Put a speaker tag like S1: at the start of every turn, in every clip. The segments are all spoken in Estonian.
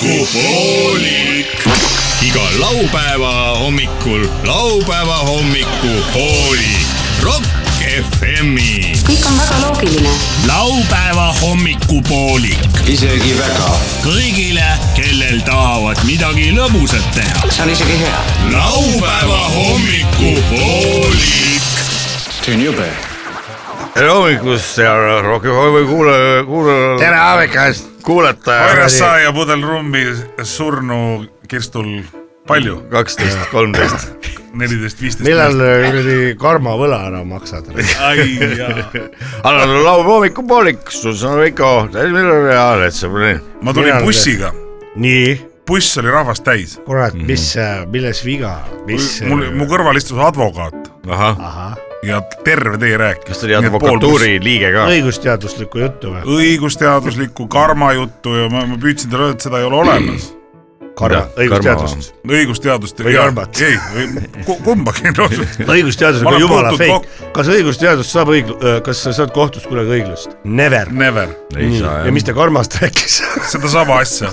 S1: hommikupoolik . iga laupäeva hommikul laupäeva hommikupoolik . Rock FM-i .
S2: kõik on väga loogiline .
S1: laupäeva hommikupoolik
S3: isegi väga .
S1: kõigile , kellel tahavad midagi lõbusat teha .
S3: see on isegi hea .
S1: laupäeva hommikupoolik .
S3: see on jube .
S4: tere hommikust , hea Rocki Holmi kuulaja , kuulaja . tere hommikust . kuulataja .
S5: RSA ja pudelrummi surnu kirstul palju ,
S4: kaksteist , kolmteist .
S5: neliteist , viisteist .
S6: millal ? kuradi karmavõla ära maksad ?
S5: ai jaa ,
S4: annan laupäeva hommikupoolik , Susanna Veiko , Tõnis Miller ja Alet Sõbrani .
S5: ma tulin
S6: Millal-
S5: bussiga ,
S6: nii ,
S5: buss oli rahvast täis .
S6: kurat ,
S4: Mhm.
S6: mis , milles viga , mis ? äh,
S5: mul , mu kõrval istus advokaat
S4: ahah ,
S6: ahah ,
S5: ja terve tee rääkis .
S4: kas ta oli advokatuuri liige ka ?
S6: õigusteaduslikku juttu või ?
S5: õigusteaduslikku karmajuttu ja ma, ma püüdsin talle öelda , et seda ei ole olemas .
S6: karma
S4: Mida? ,
S6: õigusteadust .
S5: õigusteadust .
S6: Või karmat.
S5: ei , või kumbagi ei ole .
S6: õigusteadus
S5: Ma
S6: on ka
S5: olen
S6: jumala
S5: puutunud
S6: fake . kas õigusteadus saab õig- , kas sa saad kohtust kunagi õiglust ? Never .
S5: Never ,
S4: ei saa
S6: ja mis ta karmast rääkis ?
S5: sedasama asja .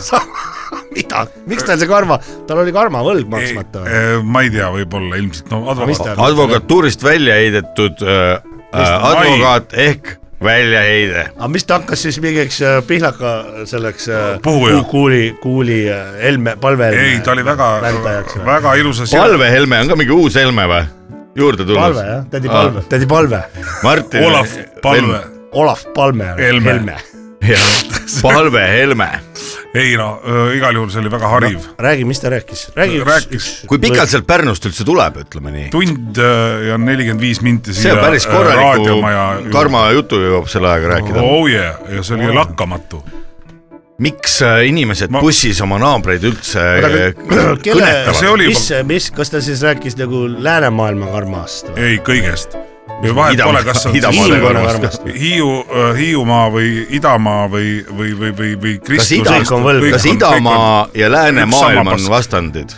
S6: mida , miks tal see karma , tal oli karmavõlg maksmata või ?
S5: eh, ma ei tea , võib-olla ilmselt , no
S6: mis
S5: advokaat
S6: ta-
S4: jah . advokatuurist välja heidetud äh, äh, advokaat ehk väljaheide .
S6: aga mis ta hakkas siis mingiks äh, pihlaka selleks äh,
S5: Puhuja.
S6: ku- kuuli , kuuli äh, Helme , äh, palvehelme ?
S5: ei , ta oli väga
S6: värvitajaks , või ?
S5: väga ilusas .
S4: Palve Helme on ka mingi uus Helme või ? juurde
S6: palve
S4: tulnud .
S6: jah , tädi
S5: Ah.
S6: Palve , tädi Palve ,
S4: Martin .
S5: Olav Palve .
S6: Olav Palme ,
S5: Helme.
S6: Helme .
S4: Palve Helme .
S5: ei no öö, igal juhul see oli väga hariv no. .
S6: räägi , mis ta rääkis , räägi üks ,
S5: Rääkis.
S6: üks .
S4: kui pikalt sealt Pärnust üldse tuleb , ütleme nii ?
S5: tund öö, ja nelikümmend viis minti
S4: see
S5: siia äh,
S4: on päris
S5: öö,
S4: korraliku
S5: ju-
S4: karma jutu jõuab selle ajaga rääkida .
S5: oh yeah , ja see oli oh. lakkamatu .
S4: miks äh, inimesed
S5: Ma-
S4: bussis oma naabreid üldse äh,
S6: kelle
S4: kõnetavad ?
S5: See oli ,
S6: mis , mis , kas ta siis rääkis nagu läänemaailma karmast või ?
S5: ei kõigest . vahet
S4: Ida-
S5: pole , kas see on
S4: Idamaale
S5: Hiiu-
S4: Hiiumaa
S6: Hiiumaa
S4: karmast.
S5: Hiiu , Hiiumaa või Idamaa või , või , või , või , või
S4: kas
S5: Kristus .
S4: ida
S6: kõik on võlg. ,
S4: kas idamaa ja läänemaailm
S5: sama
S4: on
S5: pask.
S4: vastandid ?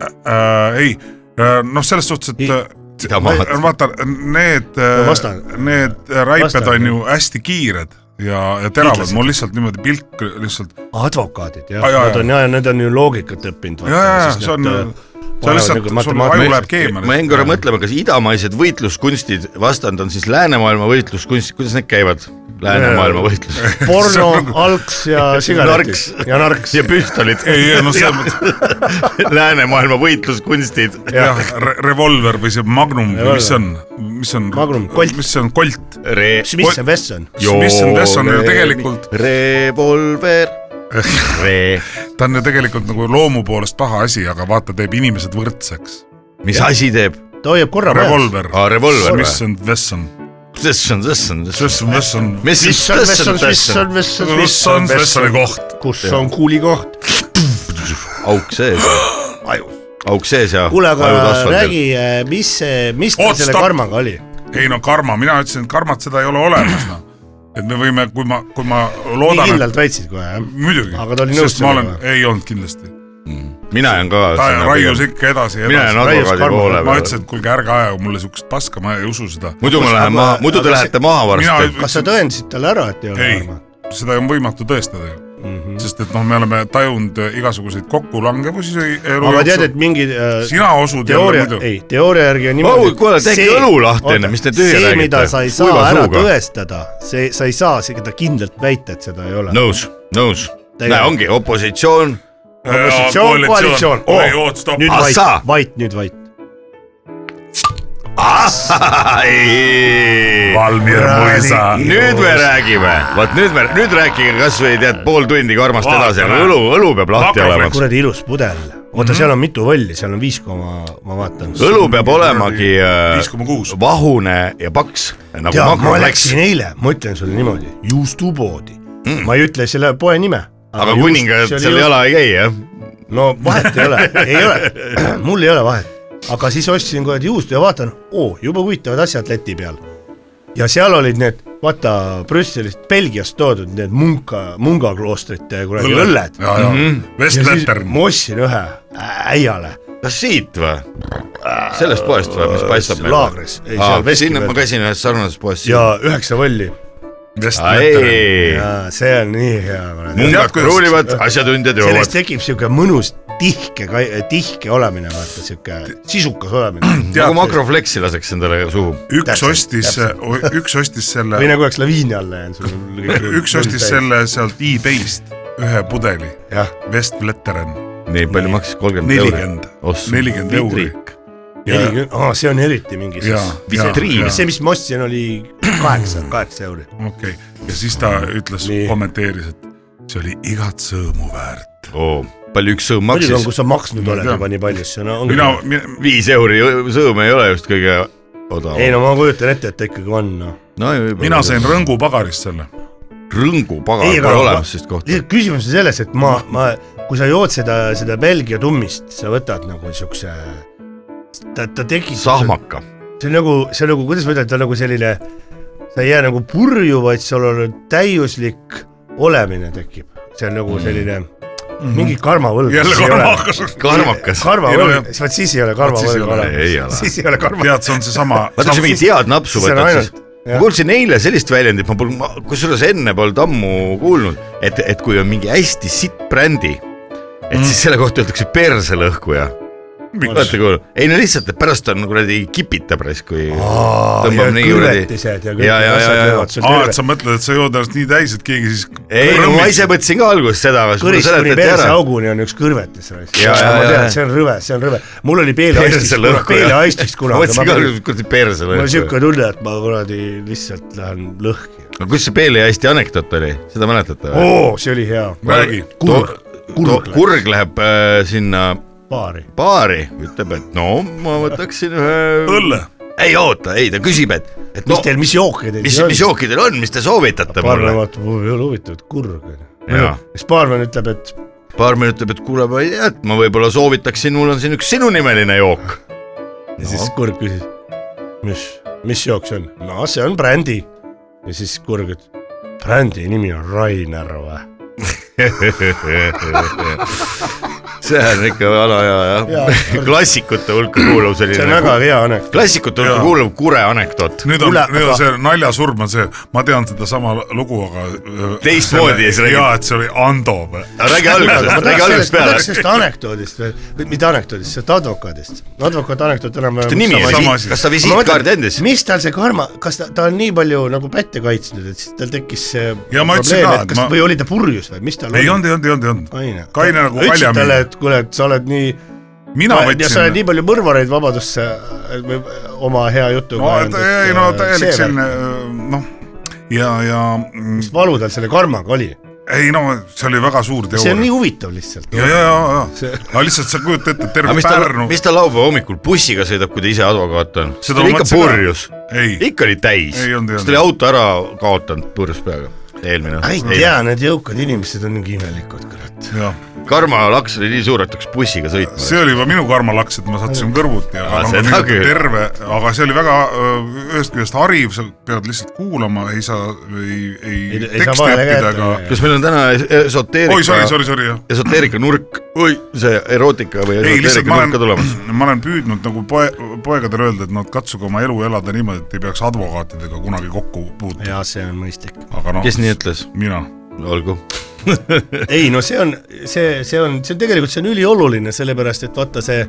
S5: äh, ? ei , noh , selles suhtes , et
S6: I-
S5: äh,
S4: Idamaad.
S5: vaata need äh,
S6: Ma vastan. ,
S5: need räiped
S6: Vastan.
S5: on ju hästi kiired ja , ja teravad ,
S6: Hiidlased.
S5: mul lihtsalt niimoodi pilk lihtsalt
S6: advokaadid jah
S5: Ah, , jaa,
S6: nad on ja , need on ju loogikat õppinud .
S5: ja , ja , ja see on ,
S6: äh,
S5: see on lihtsalt ,
S6: nagu
S5: sul aju läheb
S4: nagu ma
S5: keemale .
S4: jäin korra mõtlema , kas idamaised võitluskunstid vastand on siis läänemaailma võitluskunstid , kuidas need käivad ? läänemaailma võitlus
S6: porno ,
S5: nagu-
S6: alks ja sigaretid
S4: Narks.
S6: ja narks
S4: ja püstolid ,
S5: ei , ei noh , selles mõttes
S4: läänemaailma võitluskunstid .
S5: jah , revolver või see Magnum või mis see on , mis see on ,
S6: Magnum, Colt.
S5: mis see on , Colt .
S4: Re- .
S6: mis see vess on ?
S5: mis on , mis on ju tegelikult ,
S4: revolver Re... .
S5: ta on ju tegelikult nagu loomu poolest paha asi , aga vaata , teeb inimesed võrdseks .
S4: mis asi teeb ?
S6: ta hoiab korra peal .
S5: revolver ,
S4: aa , revolver või ?
S5: mis on , mis on ,
S4: This on , this on , this on .
S5: mis on , mis on ,
S4: mis
S6: mis on , mis on , mis on , mis on ,
S5: mis on Vessoni ? koht ?
S6: kus on kuulikoht ?
S4: auk sees . ajus . auk sees ja .
S6: kuule , aga . räägi , mis , mis tal
S5: Oot,
S6: selle
S5: stopp!
S6: karmaga oli ?
S5: ei no karma , mina ütlesin , et karmat seda ei ole olemas noh , et me võime , kui ma , kui ma
S6: nii
S5: loodan , et
S6: kindlalt väitsid kohe jah ?
S5: muidugi ,
S6: Aga ta oli nõus
S5: sest ma olen
S6: sellega ,
S5: ei olnud kindlasti ,
S4: mina jään ka .
S5: ta raius ikka edasi ,
S4: mina jään
S5: edasi .
S4: advokaadi
S6: karma.
S5: ma
S4: poole peale .
S5: ütlesin , et kuulge , ärge ajage mulle siukest paska , ma ei usu seda .
S4: muidu ma lähen
S6: aga-
S4: maha , muidu te
S6: aga
S4: lähete maha varsti .
S5: mina-
S6: kas sa tõendasid talle ära , et ei ole
S5: ei
S6: karma ?,
S5: seda on võimatu tõestada ju mm ,
S6: Mhm.
S5: -hmm. sest et noh , me oleme tajunud igasuguseid kokkulangevusi su- elu
S6: aga tead , et mingi äh,
S5: sina osud jälle
S6: teooria ,
S5: muidu .
S6: ei , teooria järgi on niimoodi
S4: Oh, kuule, tehke
S6: see-
S4: õlu lahti
S6: oota,
S4: enne, mis te tühja
S6: see ,
S4: räägite?
S6: mida sa ei saa
S4: Kuiva
S6: ära
S4: suuga.
S6: tõestada , see , sa ei saa seda kindlalt väita , et seda ei ole .
S4: nõus , nõus .
S6: Tegelikult-
S4: näe , ongi opositsioon .
S6: opositsioon , koalitsioon ,
S5: ei oot , stopp ,
S6: nüüd
S4: Ah,
S6: vait
S4: saa. ,
S6: vait , nüüd vait .
S5: Ah! Valmir Mõisa .
S4: nüüd me räägime , vot nüüd me , nüüd rääkige kasvõi tead pool tundi karmast
S5: Vaata,
S4: edasi , aga
S5: näe.
S4: õlu , õlu peab lahti
S5: Makrofleks.
S4: olema .
S6: kuradi ilus pudel . oota , seal on mitu võlli , seal on viis koma , ma vaatan .
S4: Mhm. õlu peab olemagi äh,
S5: 5,6.
S4: vahune ja paks nagu Mm.
S6: tead , ma
S4: makroleks ,
S6: läksin eile , ma ütlen sulle niimoodi , juustupoodi . ma ei ütle selle poe nime .
S4: Mm. aga kuningat seal jala ei käi jah .
S6: no vahet ei ole , ei ole , mul ei ole vahet , aga siis ostsin kuradi juustu ja vaatan , oo , juba huvitavad asjad leti peal . ja seal olid need , vaata Brüsselist , Belgiast toodud need munka , munga kloostrite kuradi õlled .
S5: ja , ja ,
S6: Mhm.
S5: Westlettern .
S6: ma ostsin ühe äiale
S4: kas siit või ? sellest poest või , mis paistab ?
S6: laagris , ei
S4: Aa,
S6: seal
S4: sinna ma
S6: Veskimeel
S4: käisin ühes sarnases poes .
S6: ja üheksa võlli see on nii hea , kurat .
S4: mungad kruulivad , asjatundjad
S6: sellest
S4: joovad .
S6: tekib siuke mõnus tihke , tihke olemine , vaata siuke sisukas olemine .
S5: tead-
S4: nagu makrofleksi laseks endale suhu .
S5: üks
S6: Täpselt,
S5: ostis , üks ostis selle
S6: või , nagu oleks laviini alla jäänud sul .
S5: üks ostis . selle sealt e-Bayst ühe pudeli
S6: jah ,
S5: Westvleteren ,
S4: nii palju maksis kolmkümmend
S5: nelikümmend , nelikümmend euri .
S6: nelikümmend , aa , see on eriti mingi
S5: ja
S6: siis ,.
S4: vitriin.
S6: see , mis ma ostsin , oli kaheksa , kaheksa euri .
S5: okei , ja siis ta ütles
S6: Nii. ,
S5: kommenteeris , et see oli igat sõõmu väärt .
S4: palju üks sõõm
S6: muidugi
S4: maksis
S6: on , kui ? nagu sa maksnud oled
S5: Jah.
S6: juba nii palju , siis on ongi
S5: mina ,
S4: viis euri sõõm ei ole just kõige odavam .
S6: ei no ma kujutan ette , et ta ikkagi on noh .
S4: no, juba,
S5: mina sain rõngupagarist selle ,
S4: rõngu pagan
S6: Ei, aga
S4: pole
S6: ma-
S4: olemas sellist kohta .
S6: lihtsalt küsimus on selles , et ma , ma , kui sa jood seda , seda Belgia tummist , sa võtad nagu siukse , ta , ta tekib .
S4: sahmaka .
S6: see on nagu , see on nagu , kuidas ma ütlen , ta on nagu selline , sa ei jää nagu purju , vaid sul on täiuslik olemine tekib , see on nagu selline mingi karmavõlg .
S5: jälle karmakas .
S4: karmakas .
S6: karmavõlg , vot siis ei ole
S5: siis ei
S6: karmavõlg
S5: ole.
S4: Ei
S6: olemas
S4: ole. ,
S6: siis ei ole karmavõlg .
S5: tead , see on seesama ,
S4: vaata , sa mingid head napsu
S6: see on
S4: võtad siis
S6: ainult- .
S4: ma
S6: jah.
S4: kuulsin eile sellist väljendit , ma polnud , kusjuures enne polnud ammu kuulnud , et , et kui on mingi hästi sitt brändi ,
S6: Mm.
S4: et siis selle kohta öeldakse perselõhkuja . olete kuulnud ? ei no lihtsalt , et pärast on nagu kuradi kipitab raisk , kui tõmbab nii kuradi .
S6: kõrvetised ja kõik
S4: ja , ja ,
S6: need
S4: ja ,
S6: asjad
S4: ja
S6: löövad , sul
S5: aa , et
S6: terve
S5: sa mõtled , et sa jood ennast nii täis , et keegi siis
S4: ei no ma ise mõtlesin ka alguses seda , aga siis mulle
S6: kõrist kuni
S4: seletati ära .
S6: perseauguni on üks kõrvetis raisk .
S4: Ja, ja,
S6: ma
S4: ja,
S6: tean
S4: ja. ,
S6: see on rõve , see on rõve . mul oli peeleaistis ,
S4: Perselõhkuja.
S6: peeleaistis
S4: ma
S6: kunagi ,
S4: mõtlesin
S6: mul
S4: ka
S6: oli
S4: alguses , kuradi perselõhkuja .
S6: niisugune tunne , et ma kuradi lihtsalt lähen lõhki .
S4: no kus see Peele ja Eesti anekdoot oli , seda mäletate või ?
S6: oo , see oli hea .
S5: räägi ,
S6: kurg ,
S4: kurg ,
S6: kurg ,
S4: kurg läheb äh, sinna
S6: paari .
S4: baari , ütleb , et no ma võtaksin ühe .
S5: õlle .
S4: ei oota , ei ta küsib , et , et
S6: mis
S4: no
S6: no, teil , mis jooke teil
S4: mis , mis ? jooki teil on , mis te soovitate
S6: baarmen
S4: mulle ?
S6: vaatab , mul ei ole huvitavat kurgu .
S4: Jaa.
S6: siis baarmen ütleb , et
S4: baarmen ütleb , et kuule , ma ei tea , et ma võib-olla soovitaksin , mul on siin üks sinunimeline jook .
S6: ja siis
S5: Noh.
S6: kurg küsis , mis , mis jook see on ? no see on brändi . ja siis kurg , et brändi nimi on Rainer või ?
S4: see on ikka vana ja ,
S6: Jaa.
S4: jah , klassikute hulka kuulub
S6: see on
S4: selline .
S5: nagu
S6: väga hea anekdoot .
S4: klassikute hulka
S5: Jaa.
S4: kuulub kure anekdoot .
S5: nüüd on
S6: Kuule, ,
S5: nüüd
S6: aga-
S5: on see naljasurm on see , ma tean sedasama lugu , aga äh,
S4: Teistmoodi
S5: selle-
S4: ja siis räägid.
S5: jaa , et see oli Ando või ?
S4: räägi algusest , räägi algusest
S6: ma
S4: peale
S6: tahaks . sellest anekdoodist või , mitte anekdoodist , sellest advokaadist . advokaat , anekdoot
S4: ta
S6: enam-vähem .
S4: nimi
S5: Sama
S4: oli
S5: asi. ,
S4: kas ta visiitkaardi andis ?
S6: mis tal see karma , kas ta , ta on nii palju nagu pätte kaitsnud , et siis tal tekkis see
S5: Ja ma ütlesin ka, et
S6: kas
S5: ma-
S6: või oli ta purjus või mis tal
S5: ei olnud , ei olnud , ei olnud , ei olnud .
S6: kaine .
S5: kaine nagu
S6: ütlesid talle ,
S5: kaljamees .
S6: et kuule , et sa oled nii ,
S5: mina
S6: ja sa oled
S5: võtsin .
S6: nii palju mõrvareid vabadusse äh, või oma hea jutuga äh,
S5: no et- ei no täielik
S6: see
S5: selline noh , ja , ja mm,
S6: värk. valu tal selle karmaga oli ,
S5: ei no see oli väga suur
S6: see on nii
S5: teooria .
S6: huvitav lihtsalt .
S5: ja , ja , ja , ja , aga lihtsalt sa kujuta ette ,
S4: aga
S5: terve
S4: mis ta ,
S5: Pärnu ,
S4: mis ta laupäeva hommikul bussiga sõidab , kui ta ise advokaat on ? ta
S5: Seda
S4: oli
S5: ma
S4: ikka
S5: mõtlesin ka.
S4: purjus ,
S5: ei ,
S4: ikka oli täis .
S5: Ei olnud, ei olnud.
S4: siis ta oli auto ära kaotanud purjus peaga , eelmine .
S6: ei tea , need jõukad inimesed on mingi imelikud , kurat .
S5: jah ,
S4: karmalaks oli nii suur , et hakkas bussiga sõitma .
S5: see oli juba minu karmalaks , et ma sattusin kõrvuti ,
S4: Aa,
S5: aga noh,
S4: seda
S5: ma tegin
S4: küll.
S5: terve , aga see oli väga öö, ühest küljest hariv , sa pead lihtsalt kuulama , ei saa , ei , ei
S6: Ei- ei saa
S5: teksti
S6: vahele
S5: õppida ,
S6: kätte
S5: aga
S6: lüüa.
S4: kas meil on täna
S5: oi , sorry ,
S4: es-
S5: sorry ,
S4: esoteerika ,
S5: sorry , jah .
S4: esoteerika nurk , oi , see erootika või
S5: ei , lihtsalt
S4: esoteerika
S5: ma
S4: nurk ka tulemas ?
S5: olen , ma olen püüdnud nagu poe- , poegadele öelda , et nad katsuge oma elu elada niimoodi , et ei peaks advokaatidega kunagi kokku puutuma ,
S6: ja see on mõistlik .
S5: aga noh .
S4: kes nii ? ütles ?
S5: mina .
S4: olgu .
S6: ei no see on , see , see on , see on tegelikult , see on ülioluline , sellepärast et vaata see ,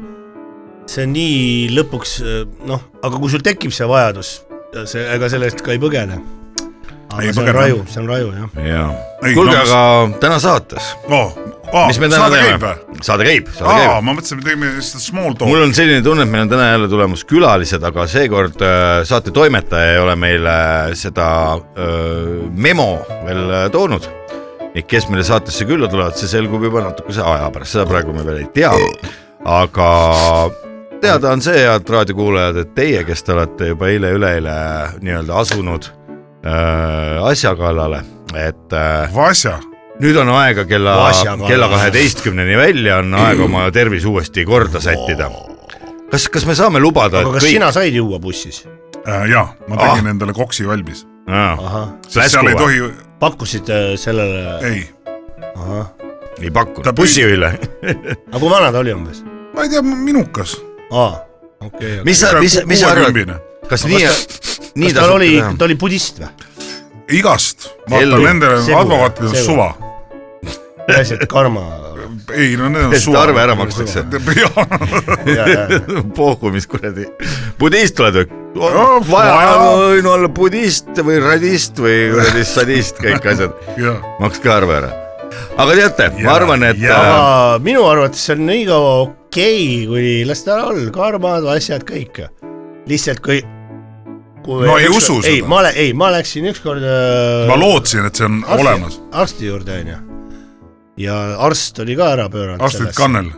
S6: see nii lõpuks äh, noh , aga kui sul tekib see vajadus , see , ega selle eest ka ei põgene . aga
S5: Ei
S6: see
S5: põgene.
S6: on raju , see on raju jah .
S5: Ei,
S4: kuulge ,
S5: no-
S4: aga täna saates ,
S5: aa , aa ,
S4: mis me täna
S5: saade käib
S4: teeme
S5: või ??
S4: saade käib , saade käib
S5: aa , ma mõtlesin , me teeme lihtsalt small talk'i
S4: mul . on selline tunne , et meil on täna jälle tulemas külalised , aga seekord äh, saate toimetaja ei ole meile seda öö, memo veel äh, toonud . et kes meile saatesse külla tulevad , see selgub juba natukese aja pärast , seda praegu me veel ei tea . aga teada on see , head raadiokuulajad , et teie , kes te olete juba eile-üleeile nii-öelda asunud öö, asja kallale , et äh, öö,
S5: Vasja ,
S4: nüüd on aega kella
S6: Vasjaga. ,
S4: kella kaheteistkümneni välja on aeg oma tervis uuesti korda sättida . kas , kas me saame lubada , et
S6: aga kas kõik...
S4: kõik
S6: sina said juua bussis ?
S5: Äh, jaa , ma
S4: Ah.
S5: tegin endale koksi valmis .
S4: Aa,
S6: ahah ,
S5: sest seal ei
S4: Läskuva.
S5: tohi ,
S6: pakkusid äh, sellele ,
S5: ei ,
S6: ahah ,
S4: ei
S5: Ta
S4: pakkunud ,
S5: püüd-
S4: bussijuhile .
S6: aga kui vana ta oli umbes ?
S5: ma ei tea , minukas .
S6: aa , okei okay, .
S4: mis sa , mis , mis sa arvad ,? kas nii , nii
S6: kas tal
S4: tasub
S6: oli
S4: teha ?,
S6: ta oli budist või ?
S5: igast , vaata
S4: Ellu.
S5: nendele
S6: Segu.
S5: advokaatidel on
S6: Segu.
S5: suva .
S6: asjad , karma .
S5: ei no need on
S4: et
S5: suva .
S4: arve ära makstakse . pohku , mis kuradi , budist oled või ?
S5: Jah,
S4: vaja
S5: vaja. ,
S4: võin olla budist või radist või kuradi sadist , kõik asjad , makske arve ära . aga teate , ma
S5: Ja,
S4: arvan , et
S5: ja.
S4: äh,
S6: aga minu arvates see on nii kaua okei okay, , kuni las ta olla , karmad , asjad , kõik . lihtsalt kui, kui .
S5: No ei usu
S6: ei ,
S5: seda.
S6: ma olen , ei , ma läksin ükskord .
S5: ma lootsin , et see on olemas .
S6: arsti juurde onju . ja arst oli ka ära pööranud .
S5: Astrid . Kannel ,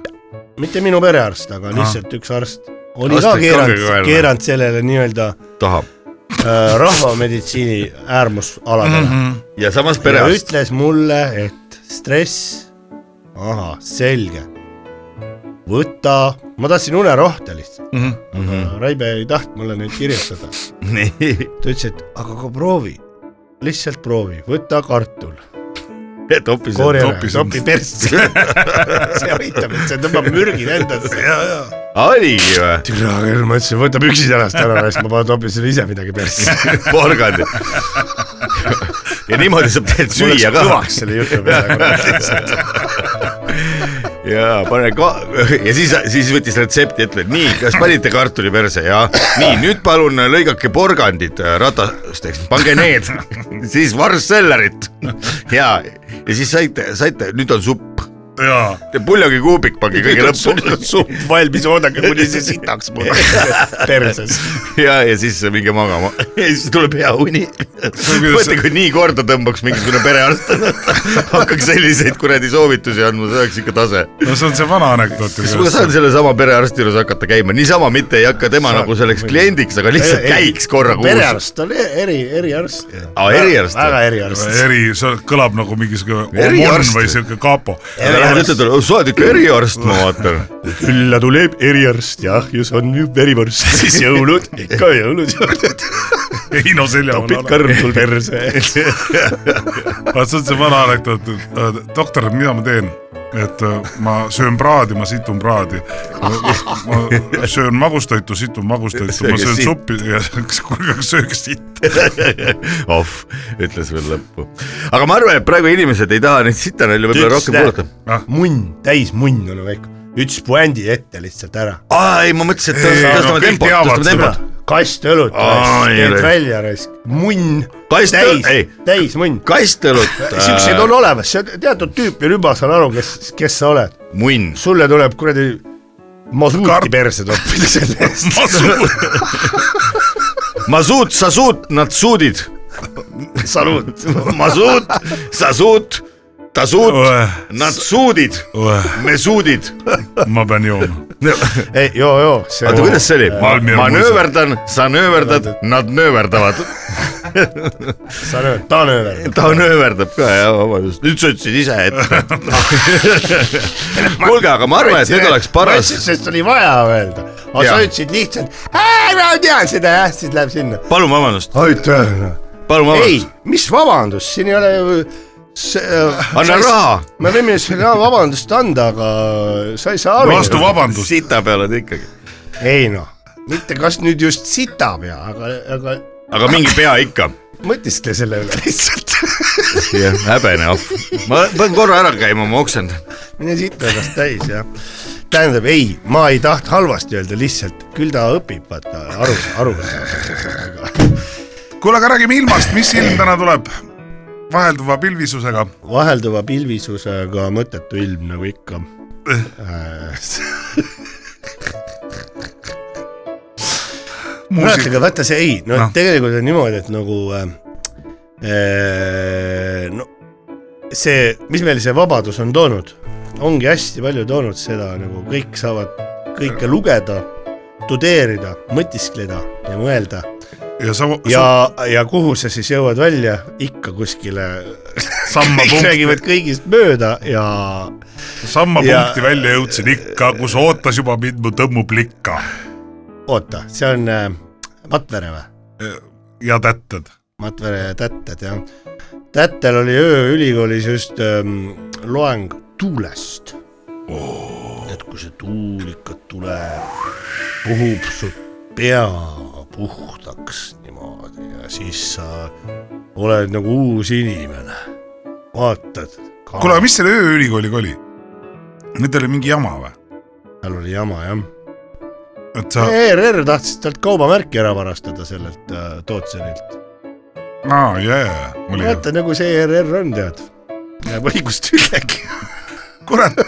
S6: mitte minu perearst , aga lihtsalt üks arst oli Astrid ka
S4: Astrid Kangega ka
S6: keeranud
S4: jälle. ,
S6: keeranud sellele nii-öelda
S4: tahab
S6: äh, rahvameditsiini äärmusaladele mm . -hmm.
S4: ja samas
S6: ja
S4: perearst ,
S6: ütles mulle , et stress , ahah , selge , võta , ma tahtsin unerohte lihtsalt mm , -hmm. aga Raibe ei tahtnud mulle neid kirjutada .
S4: nii ,
S6: ta ütles , et aga aga proovi , lihtsalt proovi , võta kartul ,
S4: et hoopis .
S6: koori ära ,
S5: topis on-
S6: topi persse . see aitab , et see tõmbab mürgid endasse .
S4: oligi või ?
S6: türa küll , ma ütlesin , võta püksid jalast ära , siis ma panen topin sulle ise midagi persse .
S4: porgandid . ja niimoodi saab tegelikult
S6: mul läks
S4: süüa ka .
S6: kõvaks selle jutu peale .
S4: ja pane ka ja siis , siis võttis retsepti , ütleb nii , kas panite kartuli perse ja nii nüüd palun lõigake porgandid äh, ratasteks , pange need , siis varsssellerit ja , ja siis saite , saite , nüüd on supp ,
S5: jaa .
S4: puljogi kuubik pange kõige lõppu
S6: valmis , oodake , kuni see sitaks mul perses .
S4: ja , ja siis minge magama ja siis tuleb hea uni . mõtle , kui nii korda tõmbaks mingisugune perearst , hakkaks selliseid kuradi soovitusi andma , see oleks ikka tase
S5: no see on see vana anekdoot .
S4: kas ma saan sellesama perearsti juures hakata käima , niisama mitte ei hakka tema nagu selleks kliendiks , aga lihtsalt käiks korra kuus .
S6: perearst on e- eri , eriarst .
S4: aa , eriarst
S6: väga
S4: või ?
S6: eriarst .
S5: eri , see kõlab nagu mingi siuke omon
S4: Eriarst.
S5: või siuke kapo .
S4: Lähed ütled talle , sa oled ikka eriarst , ma vaatan .
S6: külla tuleb eriarst , jah , ja see on ju verivorst , siis jõulud , ikka jõulud juurde .
S5: Heino selja
S6: topid
S5: peal .
S6: kõrv sul perse .
S5: vaat see on see vana anekdoot , et äh, doktor , mida ma teen ? et äh, ma söön praadi , ma situn praadi . ma söön magustoitu , situn magustoitu , ma
S4: Sööge
S5: söön
S4: sitt.
S5: suppi ja kuulge , sööge sitt .
S4: oh , ütles veel lõppu . aga ma arvan , et praegu inimesed ei taha neid sitanalju võib-olla rohkem kuulata .
S6: munn , täis munn on väike , üks puändi ette lihtsalt ära .
S4: aa , ei ma mõtlesin , et
S5: Ei, no
S4: tõstame
S5: kõik
S4: tempot ,
S5: teavad
S4: tõstame
S5: seda.
S4: tempot .
S6: kast õlut ,
S4: Ai,
S6: teed
S4: raisk.
S6: välja raisk , munn ,
S4: Kast õl-
S6: täis
S4: ei. , Äh.
S6: täis munn .
S4: kastelut
S6: Siukseid on olemas , see on teatud tüüpi rüba , saan aru , kes , kes sa oled .
S4: munn .
S6: sulle tuleb kuradi
S5: Kart-
S6: masuuti perse toppida selle eest .
S4: Masuut , sa suut , nad suudid . Saluut . Masuut , sa suut , ta suut , nad suudid , me suudid
S5: ma pean jooma .
S6: ei , joo , joo , see
S4: oota , kuidas see oli ?
S5: Valmier
S4: ma
S5: muisab.
S4: nööverdan , sa nööverdad , nad nööverdavad .
S6: sa lööd , ta lööb .
S4: ta nööverdab ka jah , vabandust , nüüd sa ütlesid ise ette . kuulge , aga ma arvan , et nüüd oleks paras ,
S6: sest oli vaja öelda , aga
S4: Jaa.
S6: sa ütlesid lihtsalt , ma tean seda jah , siis läheb sinna .
S4: palun vabandust ,
S6: aitäh .
S4: palun
S6: ei
S4: vabandust ,,
S6: mis vabandus , siin ei ole ju . äh,
S4: anna . raha ,
S6: me võime sulle ka vabandust anda , aga sa ei saa aru .
S5: vastu vabandust .
S4: sita peale ta ikkagi ,
S6: ei noh , mitte kas nüüd just sita pea , aga , aga
S4: aga mingi pea ikka .
S6: mõtiskle selle üle lihtsalt .
S4: jah , häbene ahv , ma pean korra ära käima , ma oksend .
S6: mine sita ennast täis jah . tähendab ei , ma ei tahtnud halvasti öelda , lihtsalt küll ta õpib , vaata aru , aru saab .
S5: kuule , aga räägime ilmast , mis ilm täna tuleb ? vahelduva pilvisusega .
S6: vahelduva pilvisusega mõttetu ilm nagu ikka . Äh, kurat ,
S5: muusika ,
S6: aga vaata see ei , no
S5: Noh.
S6: tegelikult on niimoodi , et nagu äh, äh, no see , mis meil see vabadus on toonud , ongi hästi palju toonud seda nagu kõik saavad kõike lugeda , tudeerida , mõtiskleda ja mõelda
S5: ja sa ,
S6: ja , ja kuhu sa siis jõuad välja , ikka kuskile ,
S5: samma
S6: kõik
S5: punkti ,
S6: räägivad kõigist mööda ja
S5: samma
S6: ja-
S5: punkti välja jõudsin ikka , kus ootas juba mind mu tõmmub likka
S6: oota , see on äh, Matvere või ?
S5: ja tätted .
S6: Matvere ja Tätted jah . Tättel oli ööülikoolis just ähm, loeng tuulest oh. . et kui see tuul ikka tuleb , puhub su pea puhtaks niimoodi ja siis sa oled nagu uus inimene . vaatad .
S5: kuule , aga mis selle ööülikooliga oli ? Need oli mingi jama või ?
S6: seal oli jama jah .
S5: et sa ,
S6: ERR tahtis talt kaubamärki ära varastada sellelt äh, Tootsenilt .
S5: aa jajah , oli jah .
S6: vaata nagu see ERR on tead , jääb õigust ülegi .
S5: kurat ,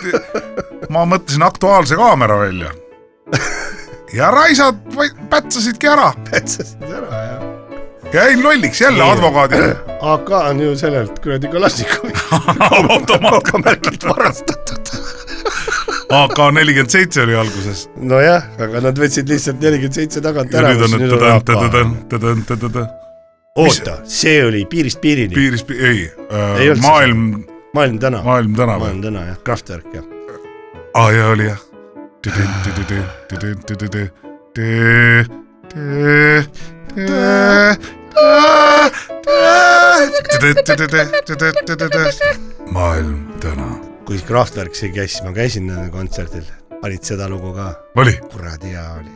S5: ma mõtlesin Aktuaalse kaamera välja . ja raisad vai- pätsasidki ära ,
S6: pätsasid ära jah .
S5: jäin lolliks jälle advokaadile .
S6: AK on ju sellelt kuradi Kalašnikovi kaubamärkilt varastatud .
S5: AK nelikümmend seitse oli alguses .
S6: nojah , aga nad võtsid lihtsalt nelikümmend seitse tagant
S5: ja
S6: ära .
S5: nüüd on nüüd tõdõn , tõdõn , tõdõn , tõdõn ,
S6: oota , see oli Piirist piirini Piir... ,
S5: piiris , ei äh,
S6: Ei olnud ,
S5: maailm ,
S6: Maailm täna .
S5: maailm tänav .
S6: maailm täna jah , Kraftwerk jah .
S5: aa jaa , oli jah . maailm täna .
S6: kui Kraftwerk siin käis , siis ma käisin nende kontserdil , panid seda lugu ka ,
S5: oli ,
S6: kuradi hea oli ,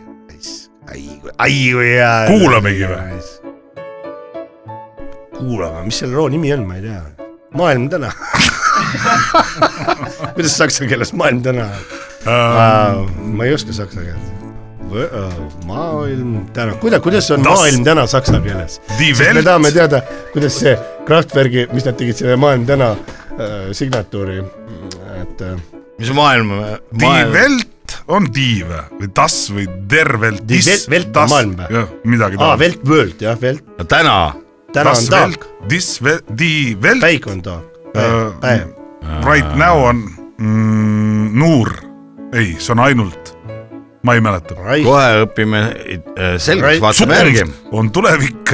S6: ai kui , ai kui hea .
S5: Kuulamegi või? ?
S6: kuulame , mis selle loo nimi on , ma ei tea . maailm täna . kuidas saksa keeles maailm täna on ?
S5: Ähm.
S6: ma ei oska saksa keelt . maailm täna , kuidas , kuidas on
S5: Das-
S6: maailm täna saksa keeles ?
S5: Die
S6: me
S5: Welt.
S6: tahame teada , kuidas see Kraftwerki , mis nad tegid selle Maailm täna äh, signatuuri , et äh,
S4: mis maailm ,
S5: Die
S4: maailm ,
S5: Welt on die või , või das või der Welt .
S6: Die Welt- Welt on maailm või? ?
S5: midagi
S6: aa , Welt World jah , Welt ,
S4: täna ,
S6: täna on taak ,.
S5: Dis Ah, Welt , Die Welt .
S6: päik on taak ,
S4: Äh,
S6: päev , päev .
S5: Right now on mm, nuur , ei , see on ainult , ma ei mäleta .
S4: kohe õpime äh, selgeks ,
S6: Right.
S4: vaatame järgi .
S5: on tulevik ,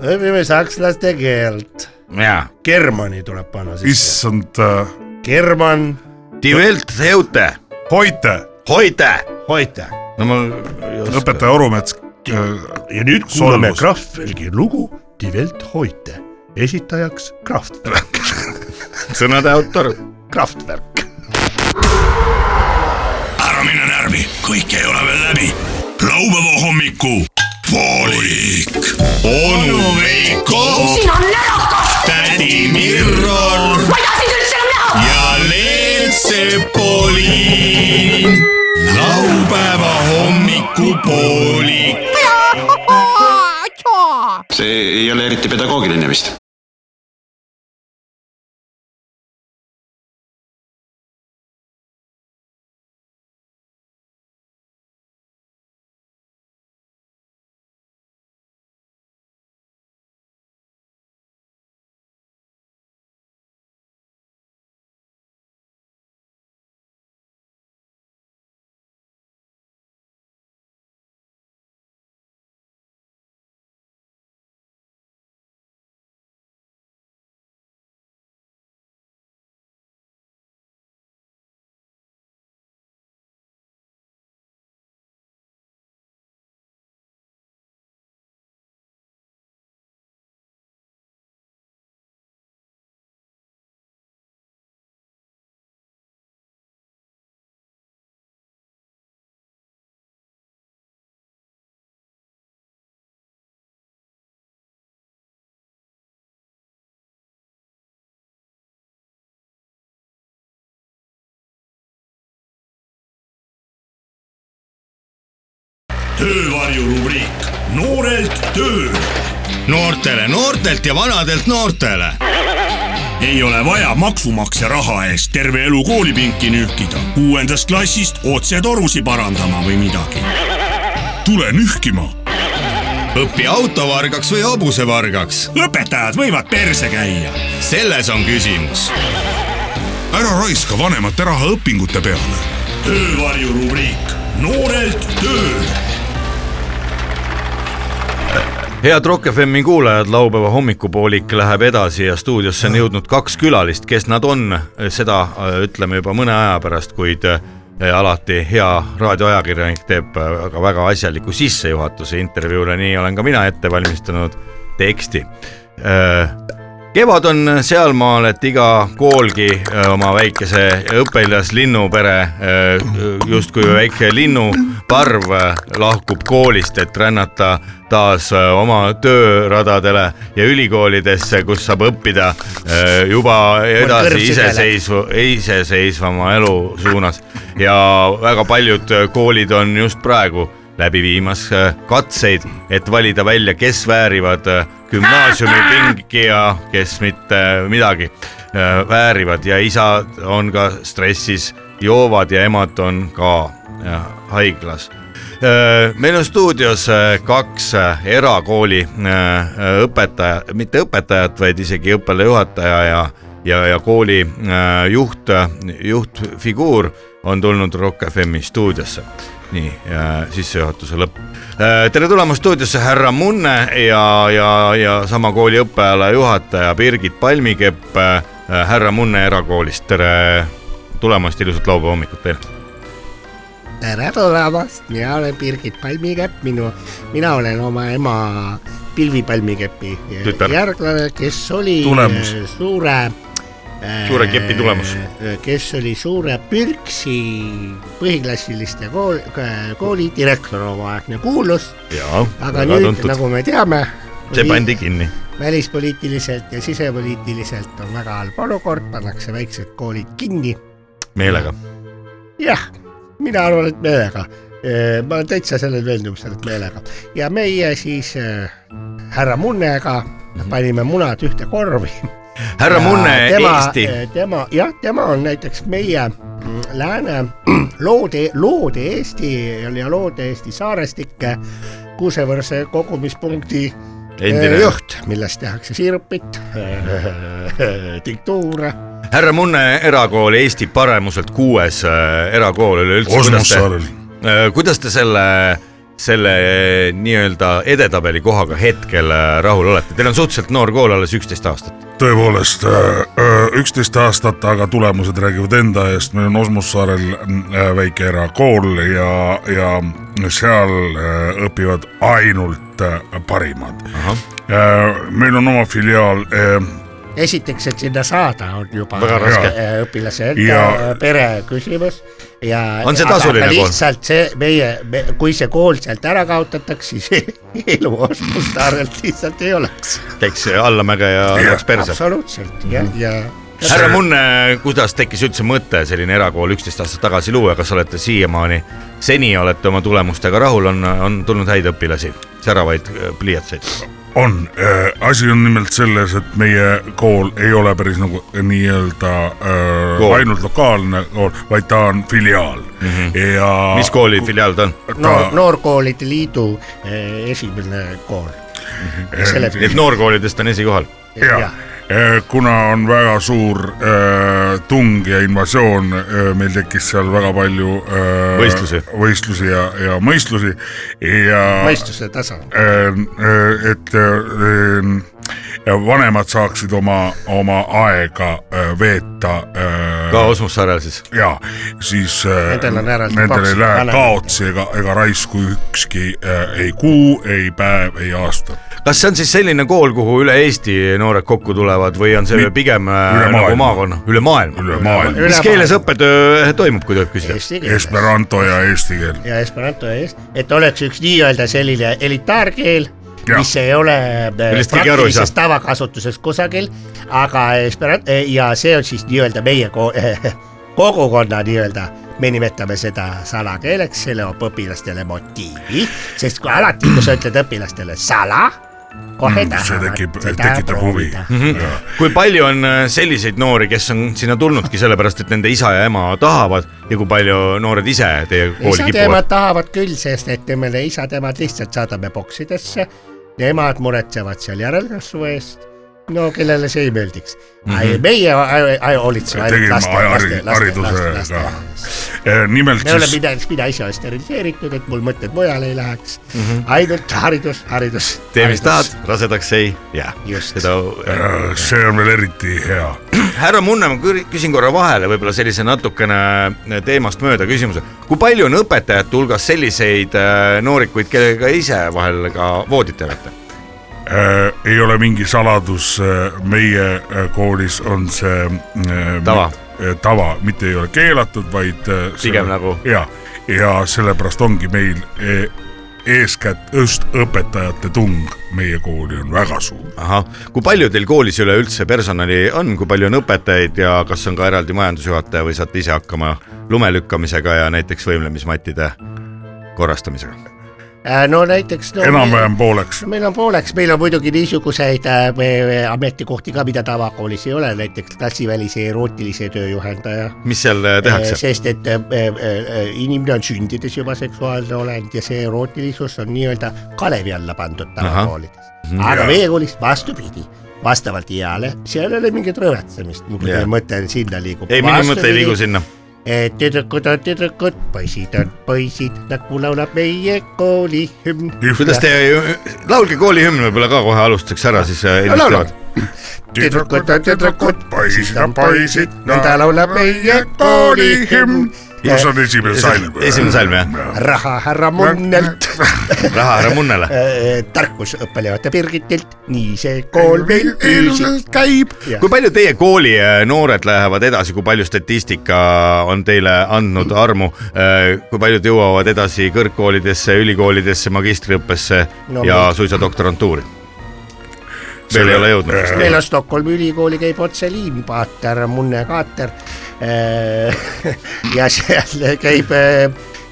S6: õpime sakslaste keelt .
S4: jaa ,
S6: Germani tuleb panna sisse .
S5: issand äh, ,
S6: German ,
S4: Die Welt Heute ,
S5: hoite ,
S4: hoite .
S6: hoida .
S4: no ma ,
S5: õpetaja Orumets äh,
S6: ja nüüd
S5: kuulame
S6: Kraftwerki lugu Die Welt heute , esitajaks Kraftwerk ,
S4: sõnade autor ,
S6: Kraftwerk .
S7: ära mine närvi , kõik ei ole veel läbi . laupäeva hommiku poolik . onu Veiko ,
S2: siin on närakas ,
S7: tädi Mirror
S2: ma ei taha sind üldse enam näha .
S7: ja Leelsepoliin . laupäeva hommikupoolik .
S3: see ei ole eriti pedagoogiline vist .
S7: töövarjurubriik Noorelt tööle . noortele noortelt ja vanadelt noortele . ei ole vaja maksumaksja raha eest terve elu koolipinki nühkida , kuuendast klassist otse torusid parandama või midagi . tule nühkima .
S8: õpi autovargaks või hobusevargaks ,
S7: õpetajad võivad perse käia .
S8: selles on küsimus .
S5: ära raiska vanemate raha õpingute peale .
S7: töövarjurubriik Noorelt tööle .
S4: head Rock FM-i kuulajad , laupäeva hommikupoolik läheb edasi ja stuudiosse on jõudnud kaks külalist , kes nad on , seda äh, ütleme juba mõne aja pärast , kuid äh, alati hea raadioajakirjanik teeb äh, väga, väga asjaliku Äh, sissejuhatuse intervjuule , nii olen ka mina ette valmistanud teksti . kevad on sealmaal , et iga koolgi öö, oma väikese õpilaslinnupere , justkui väike linnuparv öö, lahkub koolist , et rännata taas öö, oma tööradadele ja ülikoolidesse , kus saab õppida öö, juba edasi iseseisva , iseseisvama elu suunas ja väga paljud öö, koolid on just praegu läbi viimas äh, katseid , et valida välja , kes väärivad äh, gümnaasiumipingi ja kes mitte midagi äh, väärivad ja isad on ka stressis , joovad ja emad on ka äh, haiglas . meil on stuudios äh, kaks äh, erakooli äh, õpetaja , mitte õpetajat , vaid isegi õppealajuhataja ja , ja , ja kooli äh, juht , juhtfiguur on tulnud Rock FM-i stuudiosse . nii , sissejuhatuse lõpp . tere tulemast stuudiosse , härra Munne ja , ja , ja sama kooli õppeala juhataja Birgit Palmikepp , härra Munne erakoolist , tere tulemast , ilusat laupäeva hommikut teile .
S6: tere tulemast , mina olen Birgit Palmikepp , minu , mina olen oma ema Pilvi Palmikepi
S4: Tütar.
S6: järglane , kes oli
S9: Tulemus.
S6: eh, suure .
S4: Suure kepi tulemus. .
S6: kes oli suure Pürksi põhiklassiliste kool , kooli direktor omaaegne kuulus ,
S4: jaa ,
S6: aga nüüd tuntud. nagu me teame .
S4: see pandi kinni .
S6: välispoliitiliselt ja sisepoliitiliselt on väga halb olukord , pannakse väiksed koolid kinni
S4: meelega .
S6: jah , mina arvan , et meelega . ma olen täitsa sellel veendumusel , et meelega ja meie siis äh, härra Munnega panime munad ühte korvi .
S4: härra Munne , Eesti .
S6: tema äh, jah , tema on näiteks meie mm, lääne loode , loode Eesti ja loode Eesti saarestike kuusevõrse kogumispunkti
S4: Endine.
S6: eh, juht , millest tehakse eh, siirupit , tiktuure
S4: härra Munne erakool Eesti paremuselt kuues äh, erakool üleüldse .
S9: Osmussaarel .
S4: Äh, kuidas te selle , selle äh, nii-öelda edetabeli kohaga hetkel äh, rahul olete , teil on suhteliselt noor kool , alles üksteist aastat .
S9: tõepoolest äh, üksteist aastat , aga tulemused räägivad enda eest , meil on Osmussaarel äh, väike erakool ja , ja seal äh, õpivad ainult äh, parimad . meil on oma filiaal äh,
S6: esiteks , et sinna saada on juba
S4: Väga raske.
S6: äh, õpilase enda
S9: Ja-
S6: ja... pere küsimus ja .
S4: On see tasuline kool?
S6: lihtsalt see meie me, , kui see kool sealt ära kaotatakse , siis elu Osmussaarelt lihtsalt ei oleks .
S4: käiks allamäge ja läks perse . Mhm.
S6: absoluutselt ja , ja
S4: härra Munne , kuidas tekkis üldse mõte selline erakool üksteist aastat tagasi luua , kas olete siiamaani , seni olete oma tulemustega rahul , on , on tulnud häid õpilasi , säravaid äh, pliiatseid ?
S9: on , asi on nimelt selles , et meie kool ei ole päris nagu nii-öelda äh,
S4: Kool.
S9: ainult lokaalne kool , vaid ta on filiaal mm -hmm. ja .
S4: Mhm. mis kooli filiaal ta on ?
S6: noor , Noorkoolide Liidu eh, esimene kool .
S9: Äh,
S6: selle
S4: nii et noorkoolidest on esikohal .
S9: ja Äh, kuna on väga suur äh, tung ja invasioon äh, , meil tekkis seal väga palju äh,
S4: Võistlusi.
S9: võistlusi ja , ja mõistlusi ja
S6: mõistuse tasand ,
S9: äh, äh, et äh, ja vanemad saaksid oma , oma aega äh, veeta äh,
S4: ka Osmussaarel siis ?
S9: ja siis äh,
S6: Nendel on ära-
S9: nendel ei
S6: kaks
S9: lähe
S6: vanemat.
S9: kaotsi ega , ega raisku ükski äh, ei kuu , ei päev , ei aasta .
S4: kas see on siis selline kool , kuhu üle Eesti noored kokku tulevad või on see
S9: Mi-
S4: pigem äh,
S9: üle
S4: nagu
S9: maailma.
S4: maakonna , üle maailma ?
S9: üle maailma ,
S4: mis keeles õppetöö äh, toimub , kui tohib küsida ?
S6: eesti keeles
S9: esperanto ja eesti keel .
S6: ja esperanto eest , et oleks üks nii-öelda selline elitaarkeel ,
S9: Jah.
S6: mis ei ole äh,
S4: Millest keegi aru ei
S6: praktilises
S4: saa.
S6: tavakasutuses kusagil , aga esperant- eh, ja see on siis nii-öelda meie ko- eh, kogukonna nii-öelda , me nimetame seda salakeeleks , see loob õpilastele motiivi , sest kui alati , kui sa ütled õpilastele sala , kohe
S9: Mm,
S6: mm,
S9: see tekib-
S6: tahavad seda
S9: tekitab huvi. Mm.
S6: proovida .
S4: kui palju on äh, selliseid noori , kes on sinna tulnudki sellepärast , et nende isa ja ema tahavad ja kui palju noored ise teie kooli
S6: isad ja
S4: kipuvad ?
S6: emad tahavad küll , sest et me isad ja emad lihtsalt saadame boksidesse , emad muretsevad seal järelkasvu eest . no kellele see ei meeldiks mm . -hmm. meie ai- ai- hoolitseme ainult
S9: Tegime
S6: laste ,
S9: ai-
S6: laste , laste , laste ,
S9: haridusega.
S6: laste .
S9: Äh, nimelt
S6: me oleme
S9: siis ,
S6: midagi , mida ise olen steriliseeritud , et mul mõtted mujale ei läheks mm . -hmm. ainult haridus , haridus .
S4: tee , mis tahad , rasedaks ei jää .
S6: Just.
S4: seda äh,
S9: äh, see on veel eriti hea .
S4: härra Munne , ma küri- küsin korra vahele võib-olla sellise natukene eh, teemast mööda küsimuse . kui palju on eh, õpetajate hulgas selliseid äh, noorikuid , kellega ise vahel ka voodit jagate ?
S9: ei ole mingi saladus , meie äh, koolis on see äh,
S4: Tava.
S9: mit- äh, tava , mitte ei ole keelatud , vaid äh, see-
S4: Pigem nagu-
S9: ja , ja sellepärast ongi meil äh, eeskätt just õpetajate tung meie kooli on väga suur .
S4: ahah , kui palju teil koolis üleüldse personali on , kui palju on õpetajaid ja kas on ka eraldi majandusjuhataja või saate ise hakkama lume lükkamisega ja näiteks võimlemismattide korrastamisega ?
S6: Äh, no näiteks no, .
S9: enam-vähem pooleks .
S6: meil on pooleks , meil on muidugi niisuguseid äh, me- ametikohti ka , mida tavakoolis ei ole , näiteks klassivälise erootilise tööjuhendaja .
S4: mis seal äh, tehakse ?
S6: sest et äh, äh, äh, inimene on sündides juba seksuaalne olend ja see erootilisus on nii-öelda kalevi alla pandud tavakoolides .
S4: Mhm.
S6: aga meie koolis vastupidi , vastavalt eale , seal ei ole mingit rõõmetsemist , mu
S4: Jaa.
S6: mõte sinna liigub .
S4: ei , minu mõte ei liigu sinna .
S6: Et tüdrukud on tüdrukud , poisid on poisid , nagu laulab meie kooli hümn .
S4: kuidas te , laulge koolihümn võib-olla ka kohe alustuseks ära , siis äh, inimesed
S6: laulame.
S4: teavad .
S6: tüdrukud on tüdrukud , poisid on poisid , nõnda laulab meie kooli hümn .
S9: kus on esimene salm ?
S4: esimene salm jah ,
S6: raha härra Munnelt ,
S4: raha ära munnele .
S6: tarkus õppelevate Birgitilt , nii see kool meil üldiselt käib .
S4: kui palju teie kooli äh, noored lähevad edasi , kui palju statistika on teile andnud armu , kui paljud jõuavad edasi kõrgkoolidesse , ülikoolidesse , magistriõppesse
S6: No
S4: ja
S6: meil-
S4: suisa doktorantuuri ? veel ei ole jõudnud .
S6: meil on Stockholmi ülikooli käib otseliin , Paater , Munne , Kaater . ja seal käib äh,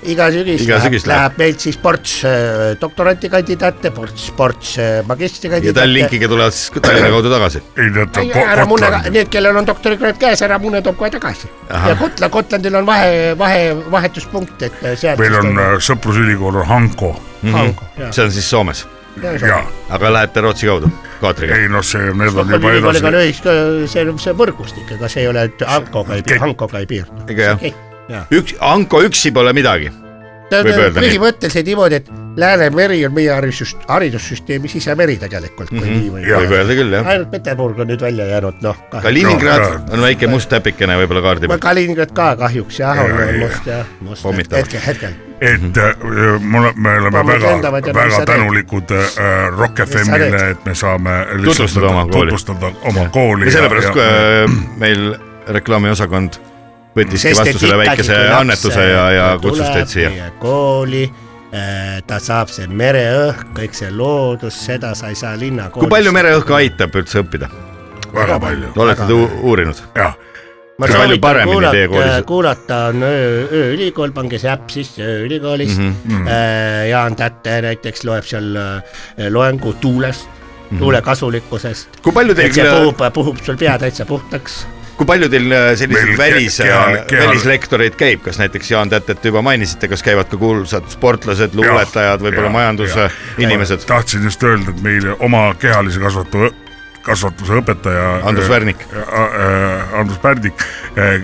S6: iga sügis,
S4: Iga sügis
S6: läheb, läheb meilt siis ports äh, doktorantikandidaate , ports , ports äh, magistrikandidaate .
S4: ja Tallinkiga tulevad siis ka Tallinna kaudu tagasi .
S9: ei , nad on
S6: Ei, ära munne ,
S9: Gotlandi .
S6: need , kellel on doktorikraad käes , ära munne toob kohe tagasi . ja Gotland , Gotlandil on vahe , vahe , vahetuspunkt , et seal
S9: meil on äh, sõprusülikool on Hanko
S4: äh,
S6: Hango ja ,
S4: Mhm. see on siis Soomes ,
S9: ja
S4: aga lähete Rootsi kaudu , Kaatriga .
S9: ei noh , see , need on
S6: Stockholmi
S9: juba
S6: ülikooliga
S9: edasi .
S6: lööks , see on see võrgustik , ega see ei ole , et Hankoga ei piirdu , Hankoga ei piirdu .
S4: ega jah , üks , Anko üksi pole midagi . Võib öelda nii.
S6: põhimõtteliselt niimoodi , et Läänemeri on meie haridus , haridussüsteemi sisemeri tegelikult , kui nii võib
S4: võib
S6: öelda .
S4: öelda küll Mhm. jah .
S6: ainult Peterburg on nüüd välja jäänud , noh .
S4: Kaliningrad on väike must täpikene võib-olla kaardi peal .
S6: Kaliningrad ka kahjuks jah , on
S9: Jaa, jaa.
S6: must jah , must
S4: Pommitavad.
S6: hetkel , hetkel
S9: et äh, mul , me oleme
S6: Pammud
S9: väga
S6: lendavad , ja mis sa
S9: väga
S6: teed?
S9: tänulikud äh, Rock
S6: teed?
S9: FM-ile , et me saame lihtsalt
S4: Tutvustada oma kooli.
S9: tutvustada oma kooli .
S4: ja sellepärast kui, äh, meil reklaamiosakond võttiski
S6: Sest et
S4: vastusele
S6: ikkagi,
S4: väikese
S6: kui laps,
S4: annetuse ja , ja
S6: tuleb
S4: kutsus teid siia .
S6: meie kooli , ta saab see mereõhk , kõik see loodus , seda sa ei saa linna
S4: kui palju mereõhk aitab üldse õppida ?
S9: väga palju ,
S4: olete te u- uurinud ?
S9: jah .
S4: kui palju paremini teie koolis-
S6: kuulata on öö, ööülikool , pange see äpp sisse ööülikoolis
S4: Mhm.
S6: mm . -hmm. Jaan Tätte näiteks loeb seal öö, loengu tuulest mm ,
S4: Mhm.
S6: -hmm. tuule kasulikkusest .
S4: kui palju
S6: et see
S4: teil ,
S6: puhub , puhub sul pea täitsa puhtaks
S4: kui palju teil äh, selliseid
S9: Meil ke-
S4: välis ,
S9: kehal- kehal-
S4: välislektoreid käib , kas näiteks Jaan Tätet juba mainisite , kas käivad ka kuulsad sportlased , luuletajad , võib-olla
S9: jah, jah.
S4: majandusinimesed ?
S9: tahtsin just öelda , et meil oma kehalise kasvatu , kasvatuse õpetaja .
S4: Andrus Värnik. .
S9: Andrus Pärdik äh, äh,